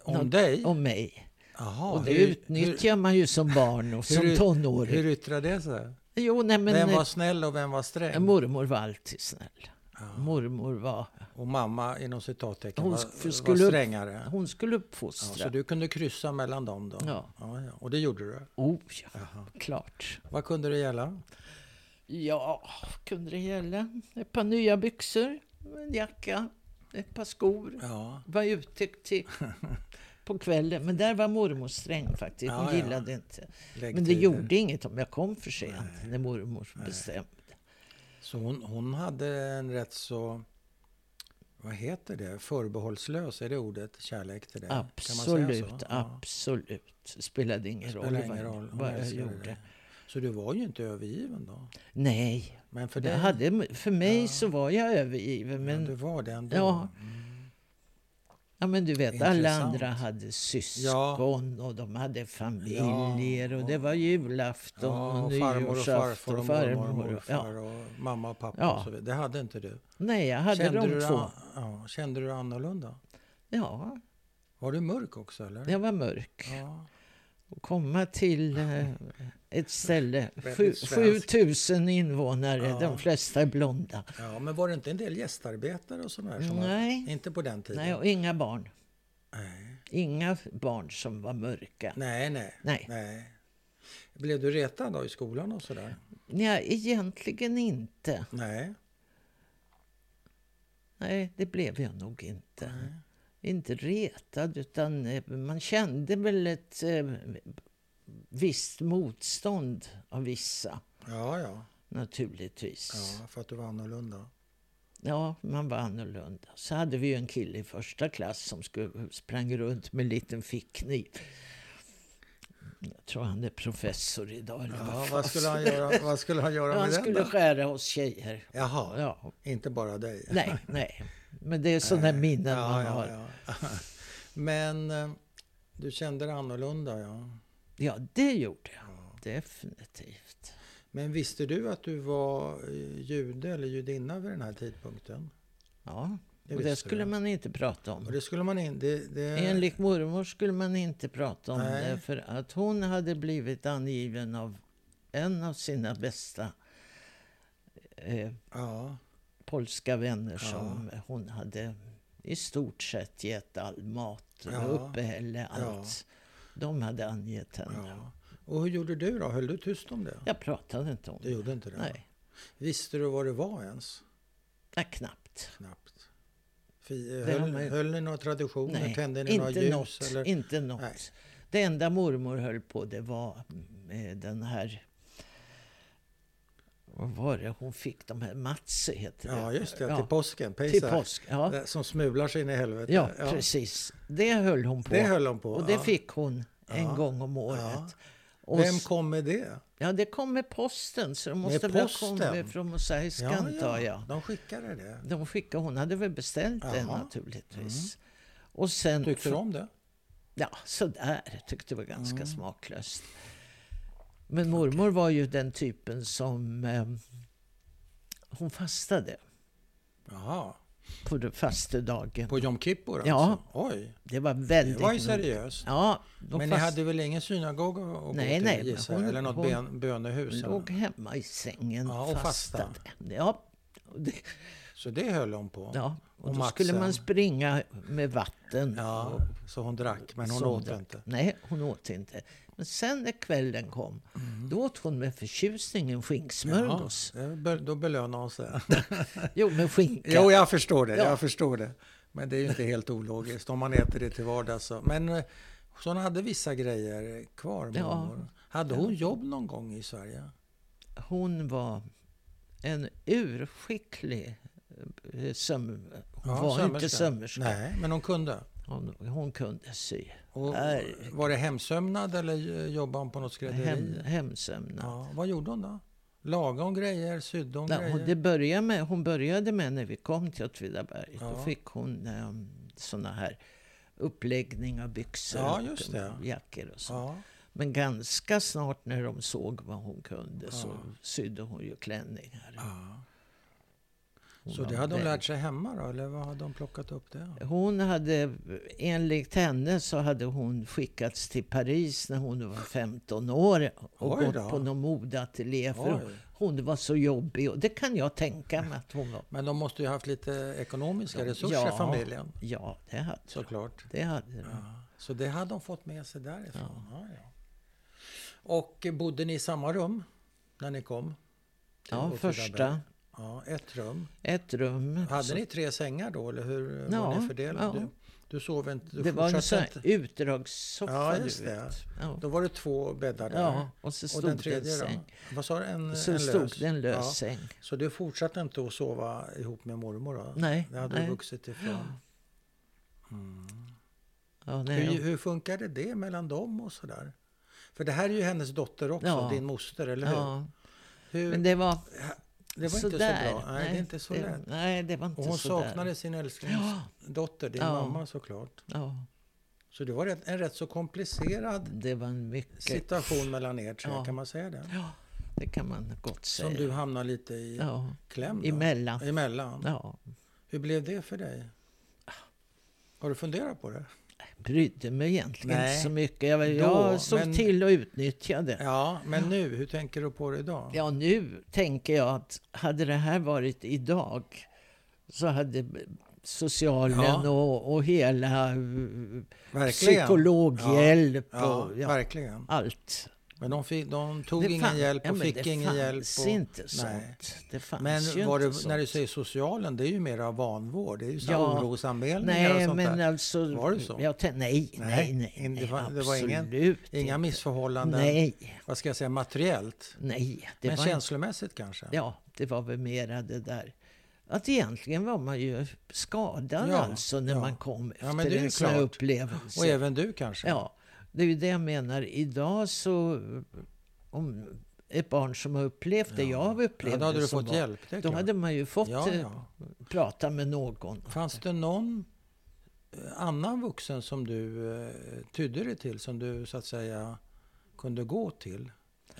S1: Om
S2: Nå-
S1: dig?
S2: Och mig.
S1: Jaha,
S2: och det
S1: hur-
S2: utnyttjar man ju som barn och som
S1: hur- Hur,
S2: tonåring.
S1: hur yttrar det sig?
S2: jo, nej men...
S1: vem
S2: eh,
S1: var snäll och vem var sträng?
S2: Mormor var alltid snäll.
S1: Ja.
S2: Mormor var...
S1: Och mamma, inom citattecken,
S2: Hon
S1: var,
S2: sk-
S1: var
S2: skulle-
S1: strängare?
S2: Hon skulle
S1: Ja, så
S2: uppfostra.
S1: du kunde kryssa mellan dem då?
S2: Ja.
S1: Ja, ja. Och det gjorde du?
S2: Oh ja,
S1: Jaha.
S2: klart.
S1: Vad kunde det gälla?
S2: Ja, kunde det gälla. Ett par nya byxor, en jacka, ett par skor.
S1: Ja.
S2: Var ute till, på kvällen. Men där var mormor sträng faktiskt. Hon
S1: Ja, ja.
S2: gillade inte.
S1: lägg
S2: Men det
S1: till.
S2: gjorde inget om jag kom för sent när mormor bestämde.
S1: Så hon, hon hade en rätt så... Vad heter det? Förbehållslös, är det ordet? Kärlek till dig?
S2: Absolut,
S1: Kan man säga så? Ja.
S2: absolut. Spelade ingen roll
S1: Spelar
S2: vad,
S1: ingen roll. Hon
S2: vad jag
S1: älskade
S2: gjorde.
S1: dig. Så du var ju inte övergiven då?
S2: Nej,
S1: Men för
S2: Det
S1: dig?
S2: hade, för mig
S1: Ja.
S2: så var jag övergiven.
S1: Men, du
S2: Men,
S1: var det ändå?
S2: Ja.
S1: Mm.
S2: ja, men du vet, alla
S1: Intressant.
S2: andra hade syskon och de hade familjer
S1: Ja,
S2: och det var julafton
S1: Ja,
S2: och
S1: och farmor och
S2: nyårsafton
S1: farfar
S2: och
S1: och mormor och
S2: farmor. och-
S1: morfar
S2: Ja.
S1: och mamma och pappa
S2: Ja.
S1: och så vidare. Det hade inte du.
S2: Nej, jag hade
S1: kände, du
S2: de
S1: dig
S2: två.
S1: an- ja, kände du dig annorlunda?
S2: Ja,
S1: Var du mörk också eller?
S2: jag var mörk.
S1: Ja.
S2: Och komma till eh, ett ställe,
S1: Väldigt
S2: sju-
S1: svensk.
S2: 7000 invånare,
S1: Ja.
S2: de flesta är blonda.
S1: ja, men var det inte en del gästarbetare och sådär? Som var,
S2: Nej,
S1: inte på den tiden?
S2: nej, och inga barn.
S1: Nej.
S2: Inga barn som var mörka.
S1: Nej, nej.
S2: Nej.
S1: nej. Blev du retad då i skolan och sådär?
S2: nej, egentligen inte.
S1: Nej.
S2: Nej, det blev jag nog inte. Inte retad, utan eh, man kände väl ett eh, visst motstånd av vissa,
S1: Ja, ja.
S2: naturligtvis.
S1: ja för att du var annorlunda.
S2: Ja. man var annorlunda. Så hade vi ju en kille i första klass som skulle, sprang runt med en liten fickkniv. Jag tror han är professor idag. Eller
S1: Ja,
S2: vad
S1: vad
S2: fan.
S1: skulle han göra, vad skulle han göra med
S2: Ja, han
S1: den
S2: skulle
S1: då?
S2: skära oss tjejer.
S1: Jaha,
S2: Ja,
S1: inte bara dig.
S2: nej, nej. Men det är sådana minnen
S1: ja,
S2: man
S1: ja,
S2: har.
S1: Ja. Men eh, du kände dig annorlunda, ja.
S2: Ja, det gjorde jag. Definitivt.
S1: Men visste du att du var eh, jude eller judinna vid den här tidpunkten?
S2: Ja,
S1: Det
S2: och det
S1: visste
S2: skulle
S1: du.
S2: man inte prata
S1: Och
S2: om.
S1: det skulle man inte... Det, det,
S2: Enligt mormor skulle man inte prata om
S1: Nej.
S2: det för att hon hade blivit angiven av en av sina bästa eh,
S1: Ja,
S2: polska vänner som hon hade i stort sett gett all mat,
S1: Ja.
S2: uppehälle, allt. De hade angett henne.
S1: ja. Och hur gjorde du då? Höll du tyst om det?
S2: Jag pratade inte om
S1: Du
S2: det.
S1: gjorde inte det?
S2: Nej,
S1: Visste du vad det var ens?
S2: nej, knappt.
S1: Knappt. Fi, eh,
S2: Det har
S1: höll,
S2: man ju-
S1: höll ni några traditioner?
S2: Nej,
S1: Tände ni några
S2: inte
S1: ljus?
S2: något.
S1: Eller?
S2: Inte något.
S1: Nej.
S2: Det enda mormor höll på det var eh, den här... Vad var det hon fick? De här Matsi heter det.
S1: Ja, just det.
S2: Ja,
S1: Till påsken.
S2: till
S1: Pejsa.
S2: påsk. Ja.
S1: Eh, Som smular sig in i helvetet.
S2: ja, precis. Det höll hon på.
S1: Det höll de på.
S2: Och det
S1: ja.
S2: fick hon en
S1: Ja.
S2: gång om året.
S1: Ja.
S2: Och
S1: Vem
S2: s-
S1: kom med det?
S2: ja, det kom med posten, så det måste väl ha
S1: posten?
S2: kommit från Mosaiska, antar jag.
S1: De skickade det.
S2: De skickade, hon hade väl beställt det
S1: Jaha. Mm.
S2: naturligtvis. Och sen
S1: Tyckte du om det?
S2: Ja, sådär. Jag tyckte det var ganska
S1: Mm.
S2: smaklöst. Men mormor var ju den typen som... Eh, hon fastade
S1: Jaha.
S2: på den faste dagen.
S1: På Jom Kippur alltså?
S2: Ja.
S1: Oj,
S2: Det var
S1: det
S2: väldigt...
S1: var ju seriöst.
S2: Ja, de
S1: Men ni hade väl ingen synagoga att
S2: Nej,
S1: gå till
S2: nej,
S1: gissar
S2: men
S1: jag?
S2: hon-
S1: Eller något
S2: hon-
S1: ben, bönehus? eller
S2: låg
S1: något?
S2: hemma i sängen
S1: Ja, och fastade.
S2: fastade. Ja, och det,
S1: Så det höll hon på?
S2: ja. Och
S1: Och
S2: då skulle
S1: matsen.
S2: man springa med vatten.
S1: Ja,
S2: och
S1: så hon drack, men hon
S2: som
S1: åt
S2: drack.
S1: inte?
S2: Nej, hon åt inte. Men sen när kvällen kom,
S1: Mm.
S2: då åt hon med förtjusning en skinksmörgås.
S1: Jaha, det be- då belönar hon sig.
S2: Jo, med skinka.
S1: Jo, jag förstår det.
S2: Ja.
S1: Jag förstår det. Men det är ju inte helt ologiskt om man äter det till vardags. så. Men eh, så hon hade vissa grejer kvar,
S2: Ja.
S1: mormor. Hade hon jobb någon gång i Sverige?
S2: Hon var en urskicklig eh, söm... Hon
S1: Ja,
S2: var
S1: sömmerska.
S2: inte sömmerska.
S1: Nej, men hon kunde.
S2: Hon, hon kunde sy.
S1: Och
S2: Herregud.
S1: var det hemsömnad eller jobbade hon på något skrädderi?
S2: Hem, hemsömnad.
S1: ja, vad gjorde hon då? Lagade hon grejer? Sydde hon
S2: Nej,
S1: grejer?
S2: hon, det började med, hon började med när vi kom till Åtvidaberg. Då
S1: Ja.
S2: fick hon eh, såna här uppläggning av byxor
S1: Ja,
S2: och
S1: just det.
S2: jackor och så.
S1: Ja,
S2: Men ganska snart när de såg vad hon kunde så
S1: Ja.
S2: sydde hon ju klänningar.
S1: ja.
S2: Hon
S1: Så
S2: var
S1: det hade hon
S2: väl-
S1: lärt sig hemma då? Eller vad hade hon plockat upp det?
S2: Hon hade, enligt henne så hade hon skickats till Paris när hon var 15 år och
S1: Oj då.
S2: gått på någon modeateljé för
S1: Oj.
S2: hon var så jobbig. Och det kan jag tänka mig att hon var.
S1: Men de måste ju haft lite ekonomiska resurser
S2: Ja.
S1: familjen.
S2: Ja, det hade de.
S1: Såklart.
S2: Det hade de.
S1: Ja. Så det hade de fått med sig därifrån. Ja. Ja, Och eh, bodde ni i samma rum när ni kom? till
S2: Ja,
S1: Åtvidaberg?
S2: första.
S1: Ja, ett rum.
S2: Ett rum.
S1: Hade
S2: Mm. Så-
S1: ni tre sängar då eller hur eh,
S2: Ja,
S1: var ni fördelade?
S2: ja.
S1: Du, du sov inte? Du
S2: det var en sån
S1: fortsatte
S2: här
S1: inte.
S2: utdragssoffa.
S1: Ja,
S2: du
S1: just
S2: vet.
S1: det.
S2: Ja.
S1: Då var det två bäddar där.
S2: ja, och så
S1: och
S2: stod
S1: den
S2: det en
S1: tredje då?
S2: säng.
S1: Vad sa du? En,
S2: Så
S1: en
S2: stod
S1: lös?
S2: det en lös
S1: Ja.
S2: säng.
S1: Så du fortsatte inte att sova ihop med mormor? Då?
S2: Nej,
S1: Det hade
S2: nej.
S1: du vuxit ifrån.
S2: Ja,
S1: Hur,
S2: nej.
S1: hur funkade det mellan dem och sådär? För det här är ju hennes dotter också,
S2: Ja.
S1: din moster, eller hur?
S2: Ja,
S1: hur
S2: men det var
S1: det var inte
S2: sådär.
S1: så bra. Nej, det är inte så lätt.
S2: Nej, det var inte
S1: Och hon
S2: sådär.
S1: saknade sin älsklingsdotter, din
S2: Ja.
S1: mamma såklart.
S2: Ja,
S1: Så det var rätt- en rätt så komplicerad
S2: det var en mycket...
S1: situation mellan er tre,
S2: Ja.
S1: kan man säga det?
S2: Ja, det kan man gott säga.
S1: Som du hamnar lite i
S2: Ja,
S1: kläm då.
S2: emellan.
S1: Emellan.
S2: Ja, Ah.
S1: Hur blev det för dig? Har du funderat på det?
S2: brydde mig egentligen
S1: Nej,
S2: inte så mycket. Jag,
S1: då,
S2: jag såg
S1: men-
S2: till och utnyttjade.
S1: Ja, men nu, hur tänker du på det idag?
S2: Ja, nu tänker jag att hade det här varit idag så hade socialen
S1: Ja.
S2: och, och hela eh,
S1: Verkligen.
S2: psykologhjälp
S1: Ja,
S2: och ja,
S1: verkligen.
S2: allt.
S1: Men de, fick, de tog
S2: Det
S1: ingen
S2: fan-
S1: hjälp och
S2: ja, men
S1: fick
S2: det
S1: ingen hjälp.
S2: fanns
S1: Och,
S2: inte
S1: Nej.
S2: sånt. Det fanns ju
S1: men var
S2: inte
S1: det, när du
S2: sånt.
S1: säger socialen, det är ju mera vanvård. Det är ju så här
S2: Ja.
S1: orosanmälningar och
S2: Nej,
S1: sånt
S2: men
S1: där.
S2: alltså...
S1: Var det så?
S2: Jag tän- nej, nej,
S1: Nej,
S2: nej, nej,
S1: inte- det var- det var ingen-
S2: absolut
S1: Inga
S2: inte.
S1: missförhållanden,
S2: Nej,
S1: vad ska jag säga, materiellt.
S2: nej. Det
S1: Men
S2: var
S1: känslomässigt kanske?
S2: Ja, det var väl mera det där. Att egentligen var man ju skadad
S1: Ja,
S2: alltså när
S1: ja.
S2: man kom efter
S1: Ja, men det är ju
S2: en sån här
S1: klart.
S2: upplevelse.
S1: Och även du kanske?
S2: Ja, det är ju det jag menar. Idag så, om ett barn som har upplevt det jag har upplevt
S1: Ja, då hade
S2: det
S1: du
S2: som
S1: fått
S2: barn,
S1: hjälp. Det är
S2: Då
S1: klart.
S2: hade man ju fått
S1: ja,
S2: eh,
S1: ja.
S2: prata med någon.
S1: Fanns det någon eh, annan vuxen som du eh, tydde dig till, som du så att säga kunde gå till?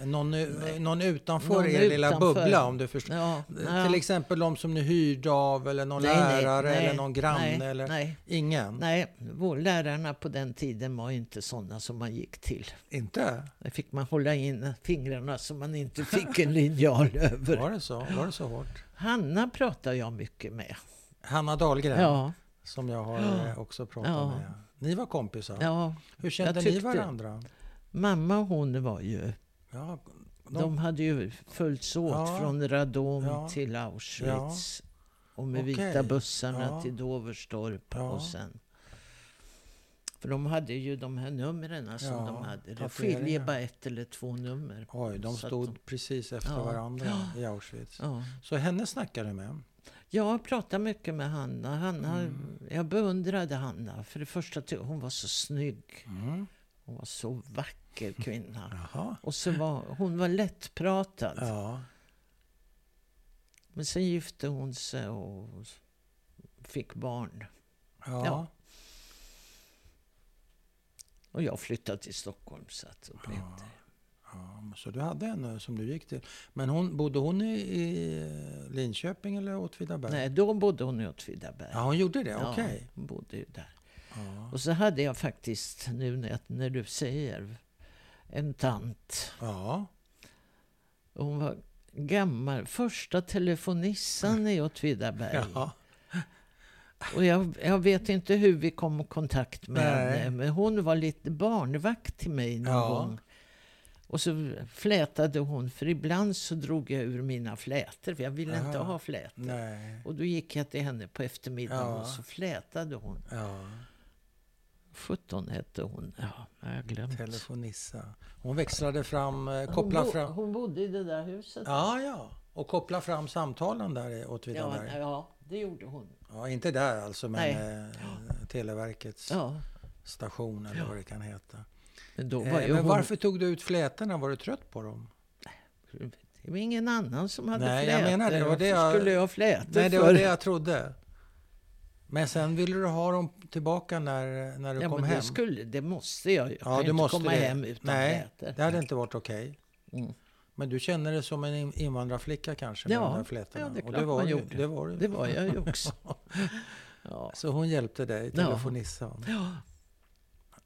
S1: Någon, eh, någon utanför
S2: Någon
S1: er lilla
S2: utanför.
S1: bubbla om du förstår?
S2: Ja,
S1: Eh, Till exempel de som ni hyrde av eller någon lärare eller någon granne
S2: nej,
S1: eller
S2: Nej,
S1: ingen?
S2: nej, vår lärarna på den tiden var ju inte sådana som man gick till.
S1: Inte?
S2: Där fick man hålla in fingrarna så man inte fick en linjal över.
S1: Var det så? Var det så hårt?
S2: Hanna pratar jag mycket med.
S1: Hanna Dahlgren,
S2: Ja,
S1: som jag har
S2: Ja.
S1: eh, också pratat
S2: Ja.
S1: med. Ni var kompisar.
S2: ja.
S1: Hur kände
S2: Jag
S1: ni
S2: tyckte-
S1: varandra?
S2: Mamma och hon var ju...
S1: Ja,
S2: De, hade ju följts åt
S1: Ja.
S2: från Radom
S1: Ja.
S2: till Auschwitz. Och med
S1: Okej.
S2: vita bussarna
S1: Ja.
S2: till Doverstorp
S1: Ja.
S2: och sen... För de hade ju de här numren som
S1: Ja,
S2: de hade. Det
S1: tatueringar.
S2: skiljer bara ett eller två nummer.
S1: Oj, de
S2: Så att
S1: stod
S2: de-
S1: precis efter
S2: Ja.
S1: varandra i Auschwitz.
S2: Ja.
S1: Så henne snackade du med?
S2: Jag pratar mycket med Hanna. Hanna
S1: Mm.
S2: Jag beundrade Hanna. För det första, ty- hon var så snygg.
S1: Mm.
S2: Hon var så vacker kvinna.
S1: Jaha.
S2: Och så var, hon var lättpratad.
S1: Ja.
S2: Men sen gifte hon sig och fick barn.
S1: Ja.
S2: Ja. Och jag flyttade till Stockholm. Så att
S1: Ah,
S2: då blev det.
S1: Ja, Så du hade henne som du gick till. Men hon, bodde hon i, i Linköping eller Åtvidaberg?
S2: Nej, då bodde hon i Åtvidaberg.
S1: Ja, hon gjorde det? Okej.
S2: hon bodde ju där.
S1: Ja.
S2: Och så hade jag faktiskt, nu när, när du säger, en tant.
S1: Ja.
S2: Och Hon var gammal. Första telefonissan i Åtvidaberg.
S1: ja.
S2: Och jag, jag vet inte hur vi kom i kontakt med
S1: Nej.
S2: henne. Men hon var lite barnvakt till mig någon
S1: Ja.
S2: gång. Och så flätade hon, för ibland så drog jag ur mina flätor. För jag ville inte
S1: Aha.
S2: ha flätor.
S1: Nej.
S2: Och då gick jag till henne på eftermiddagen
S1: Ja.
S2: och så flätade hon.
S1: Ja.
S2: 17 hette hon. Ja, jag har glömt.
S1: Telefonissa. Hon växlade fram, eh,
S2: hon,
S1: kopplade
S2: bo-
S1: fram.
S2: hon bodde i det där huset.
S1: Ja, ja. Och koppla fram samtalen där eh, i
S2: ja,
S1: Åtvidaberg.
S2: ja, det gjorde hon.
S1: Ja, inte där alltså, men
S2: Nej.
S1: eh, Televerkets
S2: Ja,
S1: station eller
S2: Ja.
S1: vad det kan heta.
S2: men då
S1: Eh,
S2: var ju
S1: Men
S2: hon...
S1: varför tog du ut flätorna? Var du trött på dem?
S2: Det var ingen annan som hade
S1: Nej, jag
S2: flätor.
S1: menar det, och
S2: Varför
S1: det jag-
S2: skulle jag ha flätor
S1: Nej, det
S2: för?
S1: var det jag trodde. Men sen ville du ha dem tillbaka när, när du
S2: ja,
S1: kom
S2: men
S1: hem.
S2: Det, skulle, det måste jag ju. Jag
S1: Ja,
S2: kan
S1: du
S2: ju inte
S1: måste
S2: komma
S1: det.
S2: hem utan
S1: Nej,
S2: flätor.
S1: Det hade inte varit okej.
S2: Mm.
S1: Men du känner dig som en in- invandrarflicka kanske? Med
S2: Ja,
S1: de där flätorna.
S2: ja, det är
S1: Och
S2: klart
S1: var
S2: man
S1: du,
S2: gjorde.
S1: Det var du.
S2: Det var jag ju också. Ja.
S1: Så hon hjälpte dig,
S2: Ja.
S1: telefonissan?
S2: Ja,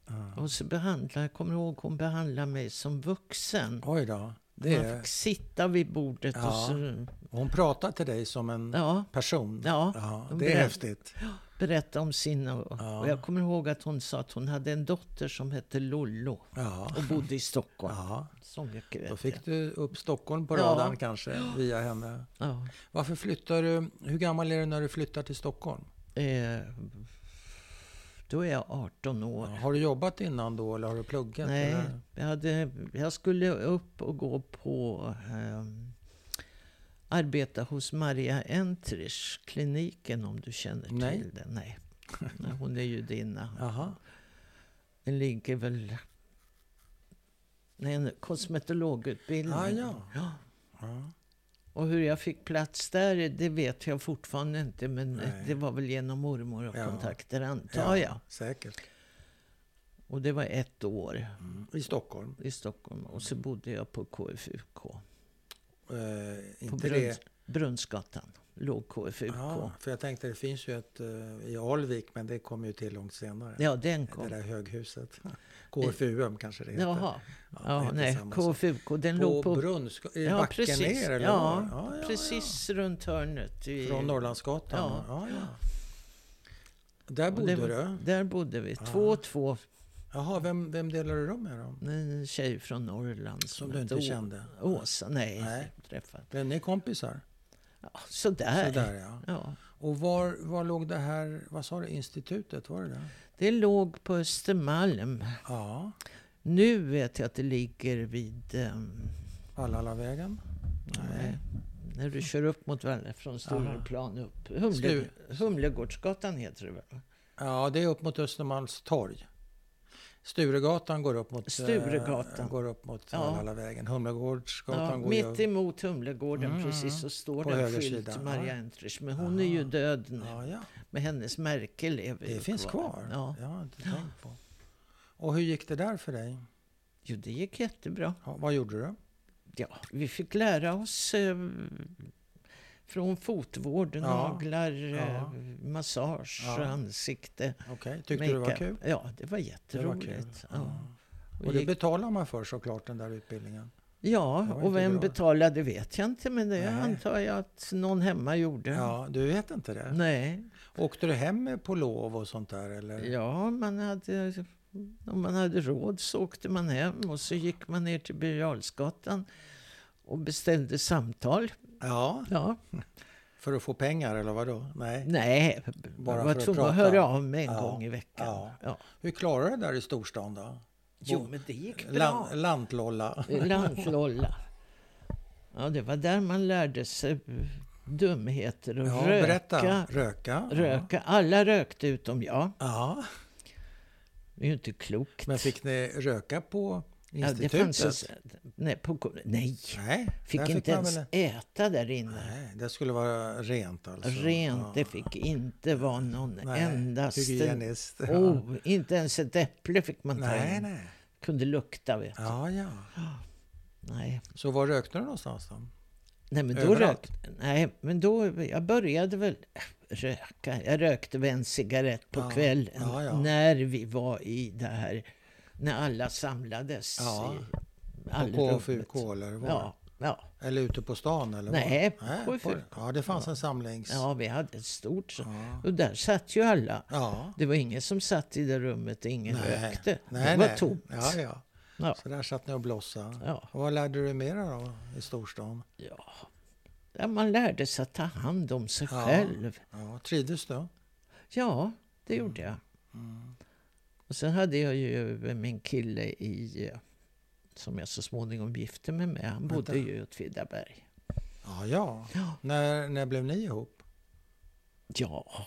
S1: Ja.
S2: och så behandlade, jag kommer ihåg, hon behandlade mig som vuxen.
S1: Oj då. Det
S2: Man
S1: är,
S2: fick sitta vid bordet och
S1: Ja. Mm.
S2: så...
S1: hon pratar till dig som en
S2: Ja,
S1: person?
S2: ja. de
S1: det är
S2: berä-
S1: häftigt.
S2: Berätta om sina...
S1: Ja.
S2: Och jag kommer ihåg att hon sa att hon hade en dotter som hette Lollo
S1: Ja.
S2: och bodde i Stockholm.
S1: Ja.
S2: Så mycket vet
S1: Då
S2: jag.
S1: fick du upp Stockholm på
S2: Ja.
S1: radarn kanske, via henne.
S2: Ja.
S1: Varför flyttar du? Hur gammal är du när du flyttar till Stockholm?
S2: Eh, då är jag 18 år.
S1: Har du jobbat innan då eller har du pluggat?
S2: Nej,
S1: Eller?
S2: jag, hade, jag skulle upp och gå på ehm, arbeta hos Maria Entrich, kliniken om du känner
S1: Nej.
S2: till den. Nej. Nej, Hon är judinna.
S1: Jaha.
S2: Den ligger väl... Nej, en kosmetologutbildning.
S1: Ah, ja.
S2: Ja.
S1: Ja.
S2: Och hur jag fick plats där, det vet jag fortfarande inte. Men
S1: Nej.
S2: det var väl genom mormor och
S1: Ja.
S2: kontakter, antar jag.
S1: Säkert.
S2: Och det var ett år
S1: Mm. I Stockholm.
S2: i Stockholm. Och så bodde jag på KFUK.
S1: Eh,
S2: På
S1: inte det. Ah,
S2: Brunns, Brunnsgatan låg KFUK.
S1: Ja,
S2: Ja.
S1: för jag tänkte det finns ju ett eh, i Alvik men det kom ju till långt senare.
S2: den
S1: Det
S2: kom.
S1: där höghuset. KFUM kanske det heter.
S2: Jaha.
S1: Ja, det
S2: Ja,
S1: heter
S2: nej.
S1: samma sak.
S2: KFUK, den
S1: På,
S2: låg på...
S1: Brunns... I
S2: Ja,
S1: backen
S2: precis.
S1: ner eller
S2: Ja,
S1: var? ja, ja.
S2: Precis runt hörnet. I,
S1: Från Norrlandsgatan?
S2: Ja.
S1: Ja, ja. Där
S2: och det
S1: bodde
S2: var-
S1: du?
S2: Där bodde vi.
S1: Ah.
S2: Två och två.
S1: Jaha, vem, vem delade du rum med då?
S2: En tjej från Norrland.
S1: Som du inte
S2: hette Å-
S1: kände?
S2: Åsa, nej.
S1: Nej.
S2: Träffade.
S1: Blev ni kompisar?
S2: Ja, sådär.
S1: Sådär ja.
S2: Ja.
S1: Och var, var låg det här, vad sa du, institutet? Var det där?
S2: Det låg på Östermalm.
S1: Ja,
S2: Nu vet jag att det ligger vid... ehm,
S1: Vallhallavägen?
S2: Nej. När du kör upp mot Valla från Stureplan upp. Humle,
S1: Slu-
S2: Humlegårdsgatan heter det väl? va?
S1: Ja, det är upp mot Östermalms torg. Sturegatan går upp mot, eh,
S2: Sturegatan.
S1: går upp mot
S2: Ja.
S1: Vallhallavägen. Humlegårdsgatan
S2: Ja,
S1: går
S2: mitt
S1: ju...
S2: emot Humlegården
S1: Mm,
S2: precis
S1: mm.
S2: så står
S1: På
S2: det en
S1: höger
S2: skylt
S1: sida,
S2: Maria
S1: ja.
S2: Entrich. Men hon är ju
S1: Aha.
S2: död nu.
S1: Ja, ja.
S2: Men hennes märke lever
S1: Det
S2: ju
S1: finns kvar.
S2: Ja.
S1: Det har jag inte tänkt på. Och hur gick det där för dig?
S2: Jo, det gick jättebra.
S1: Ja, vad gjorde du?
S2: Ja, vi fick lära oss eh, från fotvård, naglar, eh,
S1: Ja.
S2: massage,
S1: Ja.
S2: ansikte.
S1: Okej, tyckte du det var
S2: makeup.
S1: kul?
S2: Ja, det var
S1: Det var
S2: jätteroligt.
S1: kul.
S2: Ja.
S1: Ja. Och det betalar man för såklart, den där utbildningen.
S2: Ja,
S1: var
S2: och
S1: inte
S2: vem
S1: bra.
S2: betalade vet jag inte, men det
S1: Nej.
S2: antar jag att någon hemma gjorde.
S1: Ja, du vet inte det?
S2: Nej.
S1: Åkte du hem på lov och sånt där? Eller?
S2: Ja, man hade, om man hade råd så åkte man hem och så gick man ner till Birger Jarlsgatan och beställde samtal.
S1: Ja,
S2: Ja.
S1: för att få pengar eller vadå? Nej.
S2: Nej,
S1: Bara
S2: jag var
S1: för att
S2: tvungen att
S1: prata.
S2: höra av mig en
S1: Ja.
S2: gång i veckan.
S1: Ja.
S2: Ja.
S1: Hur klarar du det där i storstan då?
S2: Jo,
S1: Bo-
S2: men det gick bra.
S1: Lan, lantlolla?
S2: Lantlolla. Ja, det var där man lärde sig dumheter och
S1: Ja,
S2: röka.
S1: berätta. Röka?
S2: Röka. Alla rökte utom jag.
S1: Ja.
S2: Det är ju inte klokt.
S1: Men typ fick ni röka på
S2: Ja, det
S1: institutet?
S2: fanns ju- nej, på, ko- nej,
S1: Nej,
S2: fick
S1: där
S2: inte
S1: man
S2: ens
S1: väl-
S2: äta där inne.
S1: Nej, det skulle vara rent alltså.
S2: Rent,
S1: Ja.
S2: det fick inte vara någon
S1: Nej,
S2: endaste...
S1: Hygienist. Ja.
S2: Oh, inte ens ett äpple fick man ta
S1: nej,
S2: in.
S1: nej.
S2: Kunde lukta vet du.
S1: Ja, ja.
S2: Nej.
S1: Så var rökte du någonstans då?
S2: Nej, men då
S1: Överallt?
S2: rökte... Nej, men då... Jag började väl röka. Jag rökte väl en cigarett på
S1: Ja,
S2: kvällen.
S1: ja, ja.
S2: När vi var i det här... När alla samlades
S1: Ja.
S2: i
S1: På
S2: allrummet.
S1: KFUK eller var?
S2: Ja, ja.
S1: Eller ute på stan? Eller
S2: Nej,
S1: var?
S2: på KFUK.
S1: Ja, det fanns en samlings...
S2: Ja, vi hade ett stort så.
S1: Ja.
S2: Och där satt ju alla.
S1: Ja.
S2: Det var ingen som satt i det rummet och ingen rökte.
S1: Nej,
S2: det var
S1: nej.
S2: tomt.
S1: Ja, ja.
S2: Ja.
S1: Så där satt ni och blossade.
S2: Ja.
S1: Och vad lärde du mer då i storstan?
S2: Ja. Ja, man lärde sig att ta hand om sig
S1: Ja.
S2: själv.
S1: Ja, trivdes du?
S2: Ja, det
S1: Mm.
S2: gjorde jag. Mm. Och sen hade jag ju min kille i, eh, som jag så småningom gifte mig med. Han bodde
S1: Vänta.
S2: ju i Åtvidaberg.
S1: Ja, ja.
S2: Ja.
S1: När, när blev ni ihop?
S2: ja,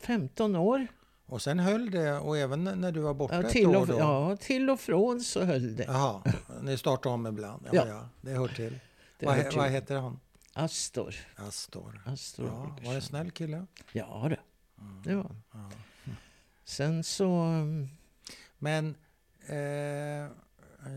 S2: 15 år.
S1: Och sen höll det, och även när du var borta
S2: Ja,
S1: ett
S2: till
S1: år
S2: och,
S1: då?
S2: ja, till och från så höll det.
S1: Jaha, ni startar om ibland. Ja, ja.
S2: Ja.
S1: det hör till.
S2: det
S1: vad,
S2: hör
S1: he-
S2: till.
S1: vad heter han?
S2: Astor.
S1: Astor.
S2: Astor
S1: Ja, var
S2: Holgersson.
S1: en snäll kille.
S2: Ja, det. det var han.
S1: Mm. Ja.
S2: Sen så um,
S1: Men, eh,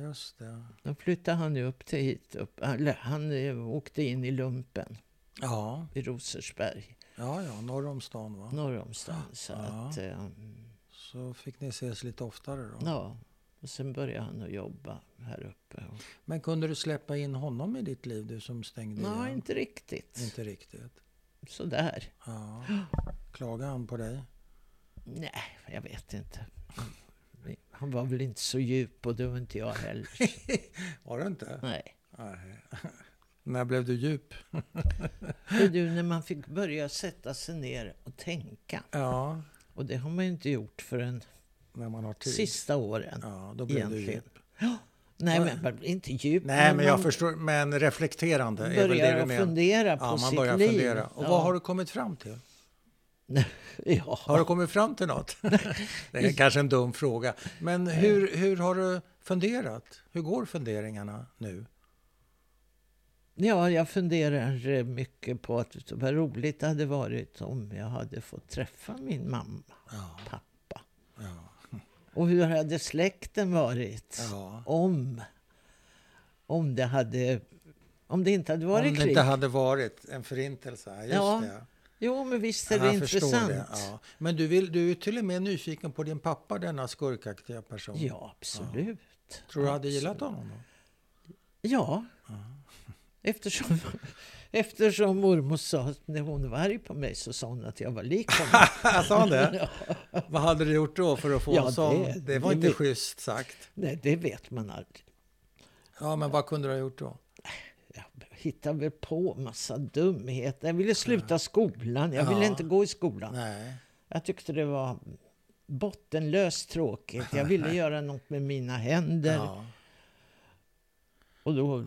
S1: just det.
S2: då flyttade han ju upp till hit. Upp, eller, han eh, åkte in i lumpen
S1: Ja,
S2: i Rosersberg,
S1: ja, ja norr om stan va?
S2: norr om stan. Så
S1: Ja.
S2: att, um,
S1: Så fick ni ses lite oftare då.
S2: ja. Och sen började han att jobba här uppe. Och,
S1: Men kunde du släppa in honom i ditt liv, du som stängde igen?
S2: nej, inte riktigt.
S1: Inte riktigt.
S2: Sådär.
S1: Ja. Klagade han på dig?
S2: Nej, jag vet inte. Mm, Han var väl inte så djup och det var inte jag heller.
S1: Var det inte?
S2: Nej.
S1: Nej. När blev du djup?
S2: Det är du, när man fick börja sätta sig ner och tänka.
S1: Ja,
S2: Och det har man ju inte gjort förrän
S1: när man har tid.
S2: sista åren.
S1: Typ. Ja, då blev du
S2: Egentligen.
S1: djup.
S2: Nej, men man blir inte djup.
S1: Nej, men jag
S2: man
S1: förstår. Men reflekterande är väl det
S2: börjar
S1: du
S2: att
S1: menar?
S2: fundera på
S1: Ja, man
S2: sitt
S1: börjar
S2: liv.
S1: fundera. Och
S2: ja.
S1: vad har du kommit fram till?
S2: Ja.
S1: Har du kommit fram till något? Det är kanske en dum fråga. Men hur, hur har du funderat? Hur går funderingarna nu?
S2: ja, jag funderar eh, mycket på att vad roligt det hade varit om jag hade fått träffa min mamma,
S1: Ja,
S2: pappa.
S1: ja,
S2: Och hur hade släkten varit?
S1: ja.
S2: om, om det hade... Om det inte hade varit
S1: Om det
S2: krig.
S1: inte hade varit en förintelse. Ja, Just
S2: Ja,
S1: det.
S2: Jo, men visst är
S1: Ja,
S2: det
S1: jag förstår
S2: intressant.
S1: det. Ja. Men du, vill, du är till och med nyfiken på din pappa, denna skurkaktiga person.
S2: Ja, absolut.
S1: Tror du hade
S2: Absolut.
S1: gillat honom? Då?
S2: Ja. Eftersom, eftersom mormor sa att när hon var arg på mig så sa hon att jag var lik honom.
S1: Sa han det? Vad hade du gjort då för att få
S2: Ja,
S1: en sån? Det,
S2: det-
S1: var
S2: det
S1: inte
S2: vet-
S1: schysst sagt.
S2: Nej, det vet man aldrig.
S1: Ja, men vad kunde du ha gjort då?
S2: Jag hittade väl på massa dumheter. Jag ville sluta skolan. Jag ville
S1: Ja.
S2: inte gå i skolan.
S1: Nej.
S2: Jag tyckte det var bottenlöst tråkigt. Jag ville göra något med mina händer.
S1: Ja.
S2: Och då,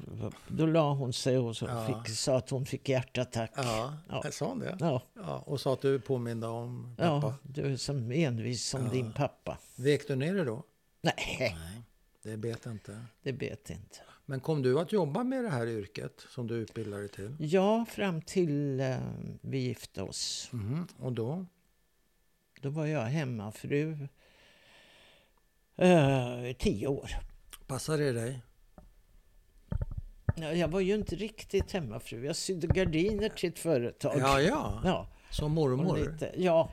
S2: då la hon sig och så
S1: Ja.
S2: fick, sa att hon fick hjärtattack.
S1: Ja. Äh,
S2: Ja.
S1: sa han det?
S2: Ja,
S1: Ja, och sa att du påminde om pappa.
S2: ja, du är som envis som
S1: Ja.
S2: din pappa.
S1: Vek du ner det då?
S2: Nej,
S1: Nej, det bet inte.
S2: det bet inte.
S1: Men kom du att jobba med det här yrket som du utbildade till?
S2: Ja, fram till eh, vi gifte oss.
S1: Mhm. Och då?
S2: Då var jag hemmafru eh, i tio år.
S1: Passade det dig?
S2: Ja, Jag var ju inte riktigt hemmafru. Jag sydde gardiner till ett företag.
S1: Ja, ja.
S2: ja,
S1: Som
S2: och
S1: mormor.
S2: lite, ja,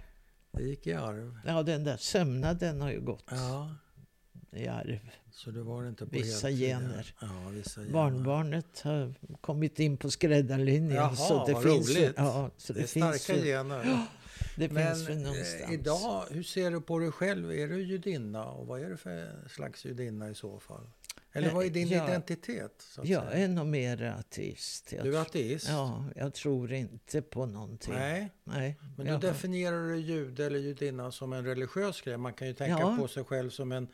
S1: Det gick i arv.
S2: ja, den där sömnaden har ju gått
S1: Ja,
S2: i arv.
S1: så det var inte på
S2: Vissa
S1: heltid, ja.
S2: gener.
S1: Ja, vissa gener.
S2: Barnbarnet har kommit in på skräddarlinjen.
S1: Jaha,
S2: så det
S1: vad
S2: finns ju-
S1: roligt.
S2: Ja, så det,
S1: Det är
S2: finns
S1: starka
S2: ju,
S1: gener.
S2: det
S1: Men
S2: finns ju
S1: eh,
S2: någonstans.
S1: idag, hur ser du på dig själv? Är du judinna? Och vad är du för slags judinna i så fall? Eller
S2: Nej,
S1: vad är din
S2: jag-
S1: identitet? Så att
S2: Jag
S1: säga?
S2: är nog mer ateist. Jag
S1: Du är
S2: tr-
S1: ateist?
S2: Ja, jag tror inte på någonting.
S1: Nej,
S2: Nej,
S1: men
S2: jag
S1: du
S2: har-
S1: definierar du jude eller judinna som en religiös grej. Man kan ju tänka
S2: Ja.
S1: på sig själv som en,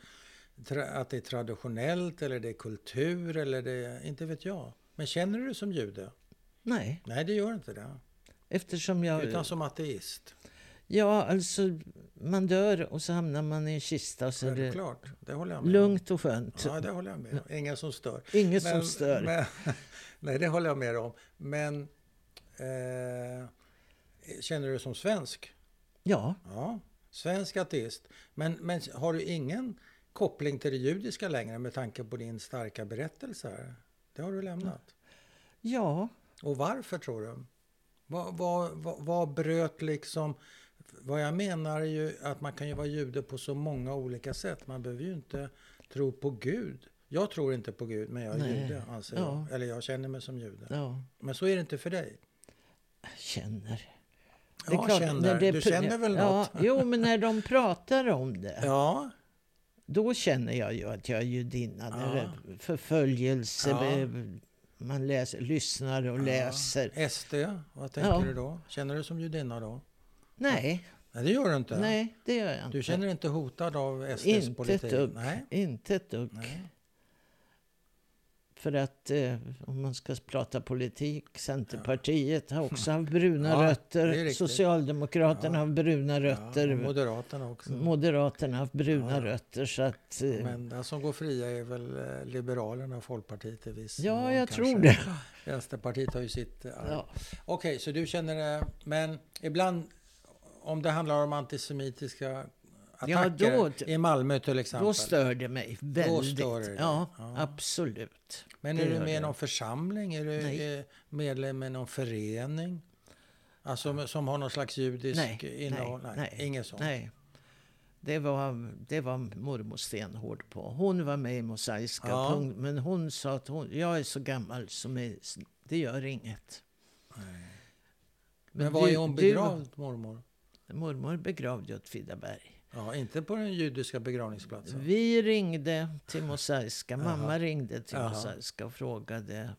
S1: tra- att det är traditionellt eller det är kultur eller det är, inte vet jag. Men känner du dig som jude?
S2: Nej,
S1: Nej, det gör inte det.
S2: eftersom jag...
S1: Utan som ateist.
S2: Ja, alltså man dör och så hamnar man i en kista. Så är det
S1: Självklart, det håller jag med om.
S2: lugnt och skönt.
S1: Ja, det håller jag med om. Ingen som stör.
S2: Inget som stör.
S1: Men, nej, det håller jag med om. Men eh, känner du dig som svensk?
S2: Ja,
S1: Ja, svensk ateist. Men, men har du ingen koppling till det judiska längre med tanke på din starka berättelse? Här? Det har du lämnat.
S2: ja.
S1: Och varför tror du? Vad, vad, vad, vad bröt liksom... Vad jag menar är ju att man kan ju vara jude på så många olika sätt. Man behöver ju inte tro på Gud. Jag tror inte på Gud, men jag är
S2: Nej.
S1: jude, anser
S2: Ja.
S1: jag. Eller jag känner mig som jude.
S2: ja.
S1: Men så är det inte för dig.
S2: Jag känner.
S1: Ja, känner. Du känner väl
S2: ja,
S1: något?
S2: Jo, men när de pratar om det.
S1: Ja,
S2: Då känner jag ju att jag är judinna. När det är förföljelse,
S1: Ja.
S2: eh, man läser, lyssnar och läser.
S1: SD, vad tänker
S2: Ja.
S1: du då? Känner du som judinna då?
S2: Nej,
S1: Nej, det gör du inte.
S2: nej, det gör jag inte.
S1: Du känner dig inte hotad av SDs
S2: inte
S1: politik?
S2: ett dugg.
S1: Nej.
S2: Inte ett dugg.
S1: Nej.
S2: För att, eh, om man ska prata politik, Centerpartiet har också haft bruna
S1: Ja, det är
S2: rötter.
S1: riktigt.
S2: Socialdemokraterna
S1: Ja.
S2: har bruna rötter.
S1: Ja, och Moderaterna också.
S2: Moderaterna har haft bruna
S1: Ja.
S2: rötter. Så att, eh,
S1: De enda som går fria är väl eh, Liberalerna och Folkpartiet i viss
S2: Ja,
S1: mån
S2: jag
S1: kanske.
S2: tror det.
S1: Vänsterpartiet har ju sitt eh, arv.
S2: ja.
S1: Okej, så du känner det. Men ibland om det handlar om antisemitiska attacker
S2: då-
S1: i Malmö till exempel.
S2: Då stör det mig väldigt.
S1: stör det dig.
S2: ja,
S1: Ja.
S2: absolut.
S1: men
S2: det
S1: är du
S2: gör
S1: med i
S2: det.
S1: någon församling? Är du
S2: Nej.
S1: eh, medlem i någon förening? Alltså med- som har någon slags
S2: Nej,
S1: judisk
S2: nej,
S1: innehåll? Nej,
S2: nej,
S1: inget sånt.
S2: Nej. Det var, det var mormor stenhård på. Hon var med i Mosaiska.
S1: Ja.
S2: Punk, men hon sa att hon, jag är så gammal så mig, det gör inget.
S1: Men,
S2: Men
S1: var
S2: du-
S1: är hon
S2: du-
S1: begravd, mormor?
S2: Mormor begravde jag Åtvidaberg.
S1: Ja, inte på den judiska begravningsplatsen.
S2: Vi ringde till Mosaiska.
S1: Jaha.
S2: Mamma ringde till
S1: Jaha.
S2: Mosaiska och frågade.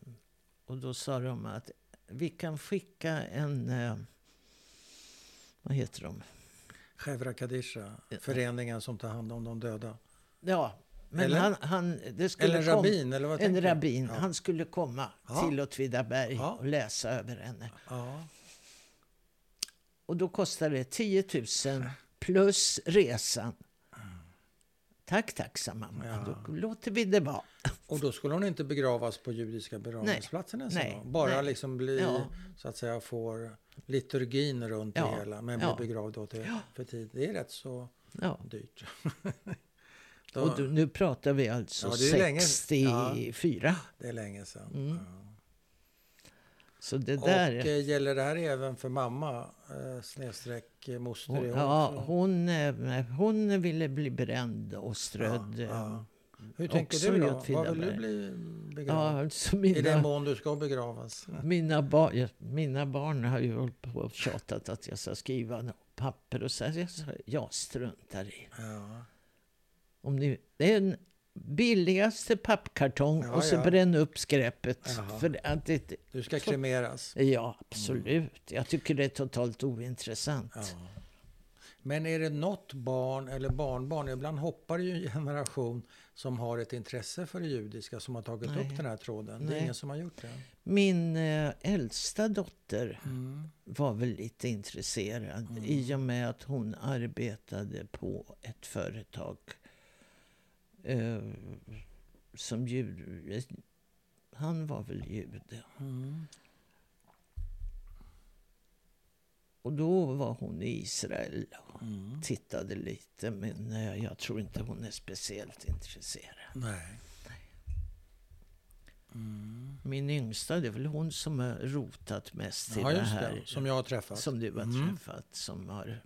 S2: Och då sa de att vi kan skicka en... eh, Vad heter de?
S1: Chevra Kadisha, föreningen som tar hand om de döda.
S2: Ja, men
S1: Eller?
S2: han... han det skulle
S1: Eller en
S2: kom-
S1: rabbin, eller vad tänker
S2: En
S1: du?
S2: rabbin.
S1: Ja.
S2: Han skulle komma
S1: Ja.
S2: till Åtvidaberg
S1: Ja.
S2: och läsa över henne.
S1: Ja.
S2: Och då kostade det 10 000 plus resan. Tack, tack, sa mamma.
S1: Ja.
S2: Då låter vi det vara.
S1: Och då skulle hon inte begravas på judiska begravningsplatsen ens en
S2: nej,
S1: gång? Bara
S2: nej.
S1: liksom bli,
S2: Ja.
S1: så att säga, får liturgin runt
S2: Ja,
S1: det hela. Men bli
S2: ja.
S1: begravd då till, för tid. Det är rätt så
S2: Ja.
S1: dyrt. då,
S2: Och då, nu pratar vi alltså
S1: Ja, det är länge-
S2: 64.
S1: Det är länge sedan. Ja.
S2: Så Mm, det där...
S1: Och eh, gäller det här även för mamma? Eh, snedstreck eh, moster?
S2: hon,
S1: är hon
S2: ja,
S1: också?
S2: hon, eh, hon ville bli bränd och strödd.
S1: Ja,
S2: Ja,
S1: ja. Hur tänker
S2: också
S1: du
S2: i
S1: då? Vad
S2: Åtvidaberg.
S1: vill du bli begravd?
S2: alltså
S1: I den
S2: mina,
S1: mån du ska begravas?
S2: mina, ba, ja, mina barn har ju hållit på och tjatat att jag ska skriva något papper och så här, jag, sa, jag struntar i.
S1: Ja.
S2: Om ni, det är den billigaste pappkartong
S1: Ja,
S2: och så
S1: ja.
S2: bränn upp skräpet.
S1: Jaha.
S2: För att det,
S1: Du ska
S2: Så-
S1: kremeras.
S2: ja, absolut. Jag tycker det är totalt ointressant.
S1: Ja. Men är det något barn eller barnbarn, ibland hoppar det ju en generation som har ett intresse för det judiska som har tagit
S2: Nej.
S1: upp den här tråden. Det är
S2: Nej.
S1: ingen som har gjort det.
S2: Min eh, äldsta dotter
S1: Mm.
S2: var väl lite intresserad i och med att hon arbetade på ett företag eh, som jude. Han var väl jude.
S1: Mm.
S2: Och då var hon i Israel och
S1: Mm.
S2: tittade lite men eh, jag tror inte hon är speciellt intresserad.
S1: Nej. Mm.
S2: Min yngsta, det är väl hon som har rotat mest i
S1: Ja,
S2: det
S1: just
S2: här.
S1: det. Som jag har träffat.
S2: som du har
S1: Mm.
S2: träffat. Som har,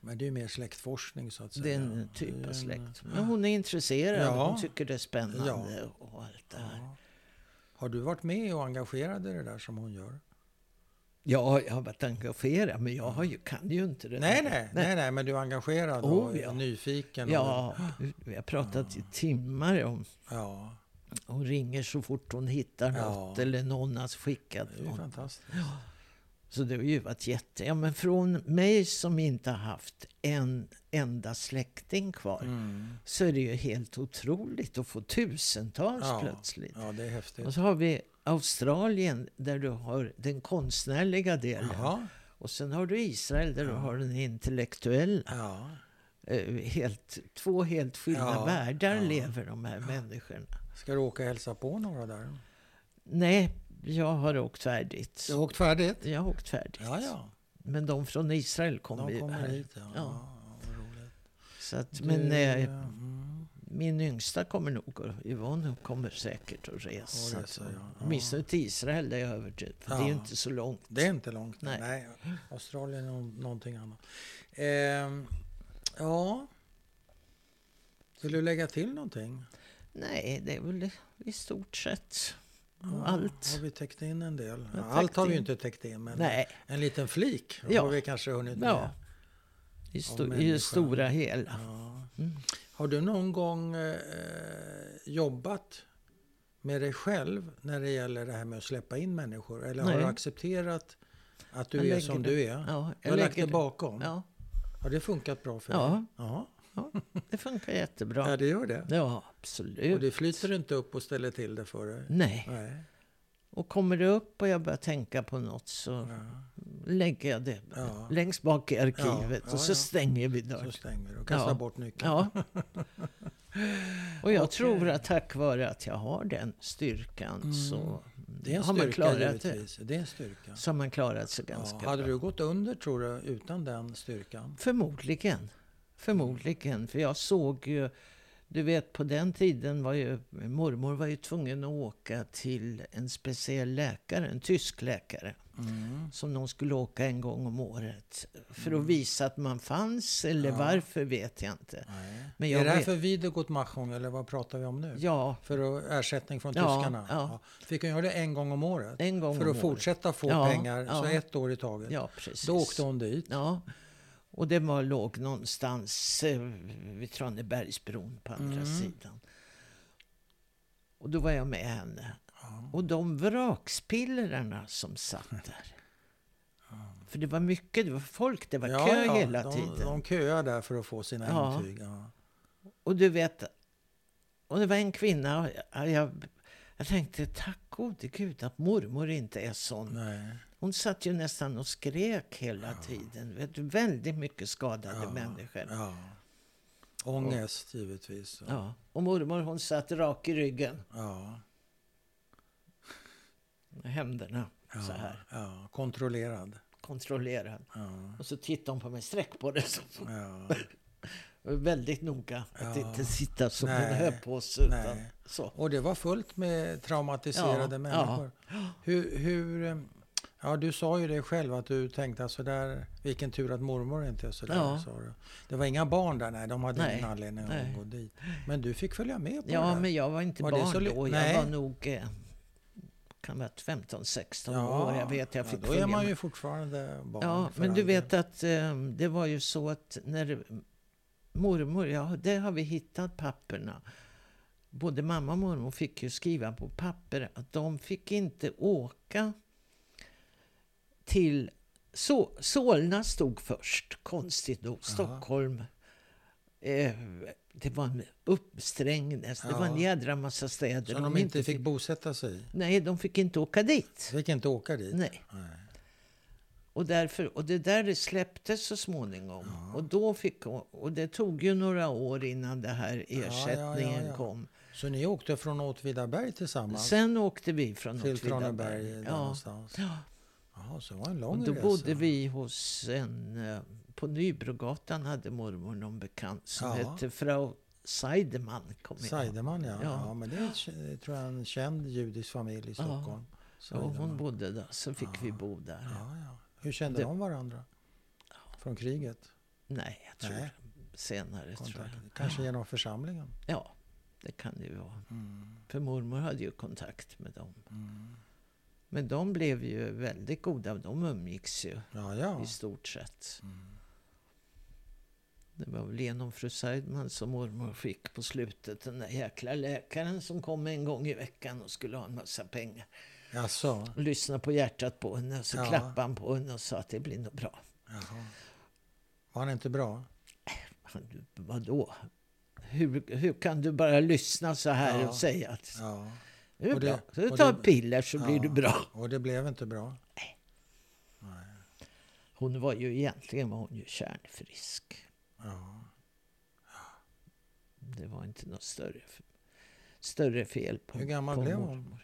S1: Men det är ju mer släktforskning så att säga.
S2: det är en
S1: Det
S2: typ
S1: är
S2: av
S1: en-
S2: släkt. Men hon är intresserad.
S1: Ja.
S2: Hon tycker det är spännande och allt det här.
S1: Ja. Har du varit med och engagerad i det där som hon gör?
S2: Ja, jag har varit engagerad, men jag har ju, kan ju inte det
S1: Nej,
S2: där.
S1: nej, nej, nej, men du är engagerad
S2: Oh,
S1: och
S2: ja.
S1: nyfiken.
S2: Ja, vi har pratat i timmar om...
S1: Och, ja,
S2: Hon ringer så fort hon hittar
S1: Ja.
S2: något eller någon har skickat
S1: det är ju
S2: något.
S1: fantastiskt.
S2: Så det har ju varit jätte... Ja, men från mig som inte har haft en enda släkting kvar
S1: Mm.
S2: så är det ju helt otroligt att få tusentals
S1: Ja,
S2: plötsligt.
S1: Ja, det är häftigt.
S2: Och så har vi Australien där du har den konstnärliga delen.
S1: Jaha.
S2: Och sen har du Israel där du har den intellektuella.
S1: Ja,
S2: Eh, Helt, två helt skilda
S1: Ja,
S2: världar
S1: ja.
S2: lever de här människorna.
S1: ska du åka och hälsa på några där?
S2: Nej, jag har åkt färdigt.
S1: Du har åkt färdigt?
S2: Jag har åkt färdigt.
S1: Ja, ja.
S2: Men de från Israel kommer
S1: De
S2: ju
S1: kommer
S2: här.
S1: hit. Ja. Ja.
S2: Ja.
S1: vad roligt.
S2: Så att,
S1: Du,
S2: men eh,
S1: mm,
S2: min yngsta kommer nog, och Yvonne kommer säkert att resa.
S1: Och resa,
S2: Så-
S1: ja. Ja.
S2: Åtminstone till Israel, det är jag övertygad För det är ju
S1: Ja.
S2: inte så långt.
S1: Det är inte långt. Nej.
S2: Nej.
S1: Australien är nå- någonting annat. Ehm, ja. Vill du lägga till någonting?
S2: Nej, det är väl i stort sett
S1: Ja, Har
S2: allt.
S1: vi täckt in en del?
S2: Jag har
S1: Allt
S2: täckt
S1: har vi ju
S2: in.
S1: inte täckt in, men
S2: Nej,
S1: en liten flik
S2: Ja.
S1: har vi kanske hunnit med.
S2: ja. I,
S1: Av
S2: sto i
S1: människan.
S2: det stora hela.
S1: Ja.
S2: Mm.
S1: Har du någon gång eh, jobbat med dig själv när det gäller det här med att släppa in människor? Eller har
S2: Nej.
S1: du accepterat att du
S2: Jag
S1: är
S2: lägger
S1: som
S2: det.
S1: du är?
S2: Ja,
S1: du har lagt
S2: lägger
S1: dig bakom?
S2: Ja,
S1: Har det funkat bra för dig?
S2: ja,
S1: Ja.
S2: Ja, det funkar jättebra.
S1: Ja, det gör det.
S2: Ja,
S1: Och
S2: absolut.
S1: det flyter inte upp och ställer till det för dig?
S2: Nej.
S1: Nej.
S2: Och kommer det upp och jag börjar tänka på något så
S1: Ja.
S2: lägger jag det
S1: Ja.
S2: längst bak i arkivet
S1: Ja, ja,
S2: och så
S1: ja.
S2: stänger vi
S1: Så
S2: dörren.
S1: stänger du och kastar
S2: Ja.
S1: bort nyckeln.
S2: Ja. Och jag
S1: Okej.
S2: tror att tack vare att jag har den styrkan
S1: Mm.
S2: så
S1: Det är en
S2: har man
S1: styrka
S2: klarat det.
S1: givetvis. Det är en styrka.
S2: Så har man klarat sig ganska
S1: Ja, hade
S2: bra.
S1: du gått under tror du utan den styrkan?
S2: Förmodligen. Förmodligen. För jag såg ju... Du vet, på den tiden var ju mormor var ju tvungen att åka till en speciell läkare, en tysk läkare,
S1: Mm.
S2: som de skulle åka en gång om året. För att visa att man fanns, eller
S1: Ja.
S2: varför vet jag inte.
S1: Nej.
S2: Men
S1: är
S2: jag
S1: det här
S2: vet-
S1: för Wiedergutmachung eller vad pratar vi om nu?
S2: Ja,
S1: För att ersättning från
S2: Ja,
S1: tyskarna?
S2: ja.
S1: Fick hon göra det en gång om året?
S2: en gång
S1: för
S2: om
S1: att fortsätta få
S2: Ja,
S1: pengar, så
S2: ja.
S1: ett år i taget.
S2: året. Ja, precis.
S1: Då åkte hon dit.
S2: Ja. Och det var, låg någonstans eh, vid Tranebergsbron på andra
S1: Mm.
S2: sidan. Och då var jag med henne.
S1: Ja.
S2: Och de vrakspillrarna som satt där. För det var mycket, det var folk, det var
S1: Ja,
S2: kö
S1: ja,
S2: hela
S1: de,
S2: tiden.
S1: De köar där för att få sina
S2: Ja.
S1: intyg. Ja.
S2: Och du vet, och det var en kvinna, och jag, jag, jag tänkte tack gode gud att mormor inte är sån.
S1: Nej.
S2: Hon satt ju nästan och skrek hela tiden. Vet, du, väldigt mycket skadade
S1: Ja,
S2: människor.
S1: Ja. Ångest givetvis. Ja.
S2: Ja. Och mormor hon satt rak i ryggen
S1: Ja.
S2: med händerna
S1: Ja.
S2: så här, Mm.
S1: Ja. Kontrollerad.
S2: kontrollerad.
S1: Ja.
S2: Och så tittade hon på mig, sträck på dig. Så
S1: Ja.
S2: jag var väldigt noga att
S1: Ja.
S2: inte sitta som en
S1: Nej.
S2: höpåse utan
S1: Nej.
S2: så.
S1: Och det var fullt med traumatiserade
S2: Ja,
S1: människor. Hur, hur, eh, ja, du sa ju det själv att du tänkte att sådär, vilken tur att mormor inte är sådär.
S2: Ja.
S1: Sa du. Det var inga barn där, nej de hade
S2: Nej,
S1: ingen anledning att
S2: nej.
S1: gå dit. Men du fick följa med på det
S2: Ja,
S1: där.
S2: men jag var inte
S1: Var det så
S2: barn
S1: li-
S2: då. Jag
S1: Nej.
S2: var nog eh, kan vara 15-16 år. Jag vet, jag fick
S1: ja, Då är man
S2: med.
S1: ju fortfarande barn.
S2: Ja,
S1: för
S2: men
S1: all
S2: du
S1: del.
S2: vet att eh, det var ju så att när mormor, ja, det har vi hittat papperna. Både mamma och mormor fick ju skriva på papper att de fick inte åka till så, Solna stod först, konstigt nog. Stockholm. Eh, det var en uppsträngnäs. Det var en
S1: Ja.
S2: jädra massa städer.
S1: Som de inte fick bosätta sig i.
S2: Nej, de fick inte åka dit.
S1: Fick inte åka dit.
S2: Nej.
S1: Nej.
S2: Och, därför, och det där släpptes så småningom. Och, då fick, och det tog ju några år innan det här
S1: ja,
S2: ersättningen
S1: ja.
S2: kom.
S1: Så ni åkte från Åtvidaberg tillsammans
S2: Sen åkte vi från
S1: till
S2: Åtvidaberg.
S1: Traneberg? där
S2: Ja.
S1: någonstans?
S2: Ja.
S1: Jaha, så det var en
S2: Och
S1: lång
S2: då
S1: resa.
S2: bodde vi hos en... eh, På Nybrogatan hade mormor någon bekant som
S1: Ja.
S2: hette Frau Seidemann. Kom jag ihåg.
S1: Seidemann, ja. ja.
S2: Ja.
S1: men det är k- tror jag, en känd judisk familj i
S2: Ja.
S1: Stockholm.
S2: Ja, och hon
S1: Seidemann.
S2: bodde där, så fick vi bo där.
S1: ja, ja. Hur kände
S2: Det-
S1: de varandra? Från kriget?
S2: Nej, jag tror
S1: Nej.
S2: senare. Tror jag.
S1: Kontakten. Kanske genom församlingen?
S2: Ja, det kan det ju vara.
S1: Mm.
S2: För mormor hade ju kontakt med dem.
S1: Mm.
S2: Men de blev ju väldigt goda. De umgicks ju
S1: Ja, ja.
S2: i stort sett.
S1: Mm.
S2: Det var väl genom fru Seidman som mormor fick på slutet den där jäkla läkaren som kom en gång i veckan och skulle ha en massa pengar.
S1: Jaså?
S2: Och lyssnade på hjärtat på henne och så
S1: Ja.
S2: klappade han på henne och sa att det blir nog bra.
S1: Jaha. Var han inte bra?
S2: Han, Vadå? Hur, hur kan du bara lyssna så här
S1: Ja.
S2: och säga att
S1: Ja.
S2: det är
S1: Och det-
S2: bra. Så
S1: och
S2: du tar
S1: det-
S2: piller så blir
S1: Ja.
S2: du bra.
S1: Och det blev inte bra?
S2: Hon var ju egentligen var hon ju kärnfrisk.
S1: Ja.
S2: Det var inte något större, större fel på
S1: Hur gammal
S2: på
S1: blev
S2: mor-
S1: hon?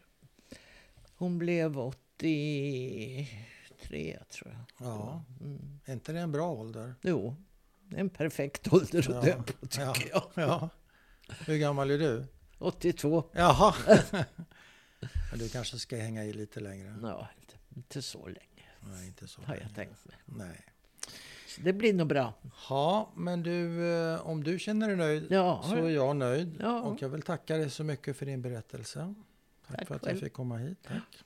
S2: Hon blev 83 tror jag.
S1: Ja.
S2: Mm.
S1: Är inte det en bra ålder?
S2: Jo, det är en perfekt ålder att
S1: Ja.
S2: dö på tycker
S1: Ja.
S2: jag.
S1: Ja. Hur gammal är du?
S2: 82?
S1: Jaha. Men du kanske ska hänga i lite längre?
S2: Ja, inte, inte så länge
S1: Nej, inte så.
S2: har jag
S1: länge.
S2: tänkt mig.
S1: Nej.
S2: Så det blir nog bra.
S1: Ja, men du, eh, om du känner dig nöjd
S2: Ja,
S1: så är jag nöjd.
S2: Ja.
S1: Och jag vill tacka dig så mycket för din berättelse. Tack,
S2: Tack
S1: för att jag
S2: själv.
S1: fick komma hit. Tack.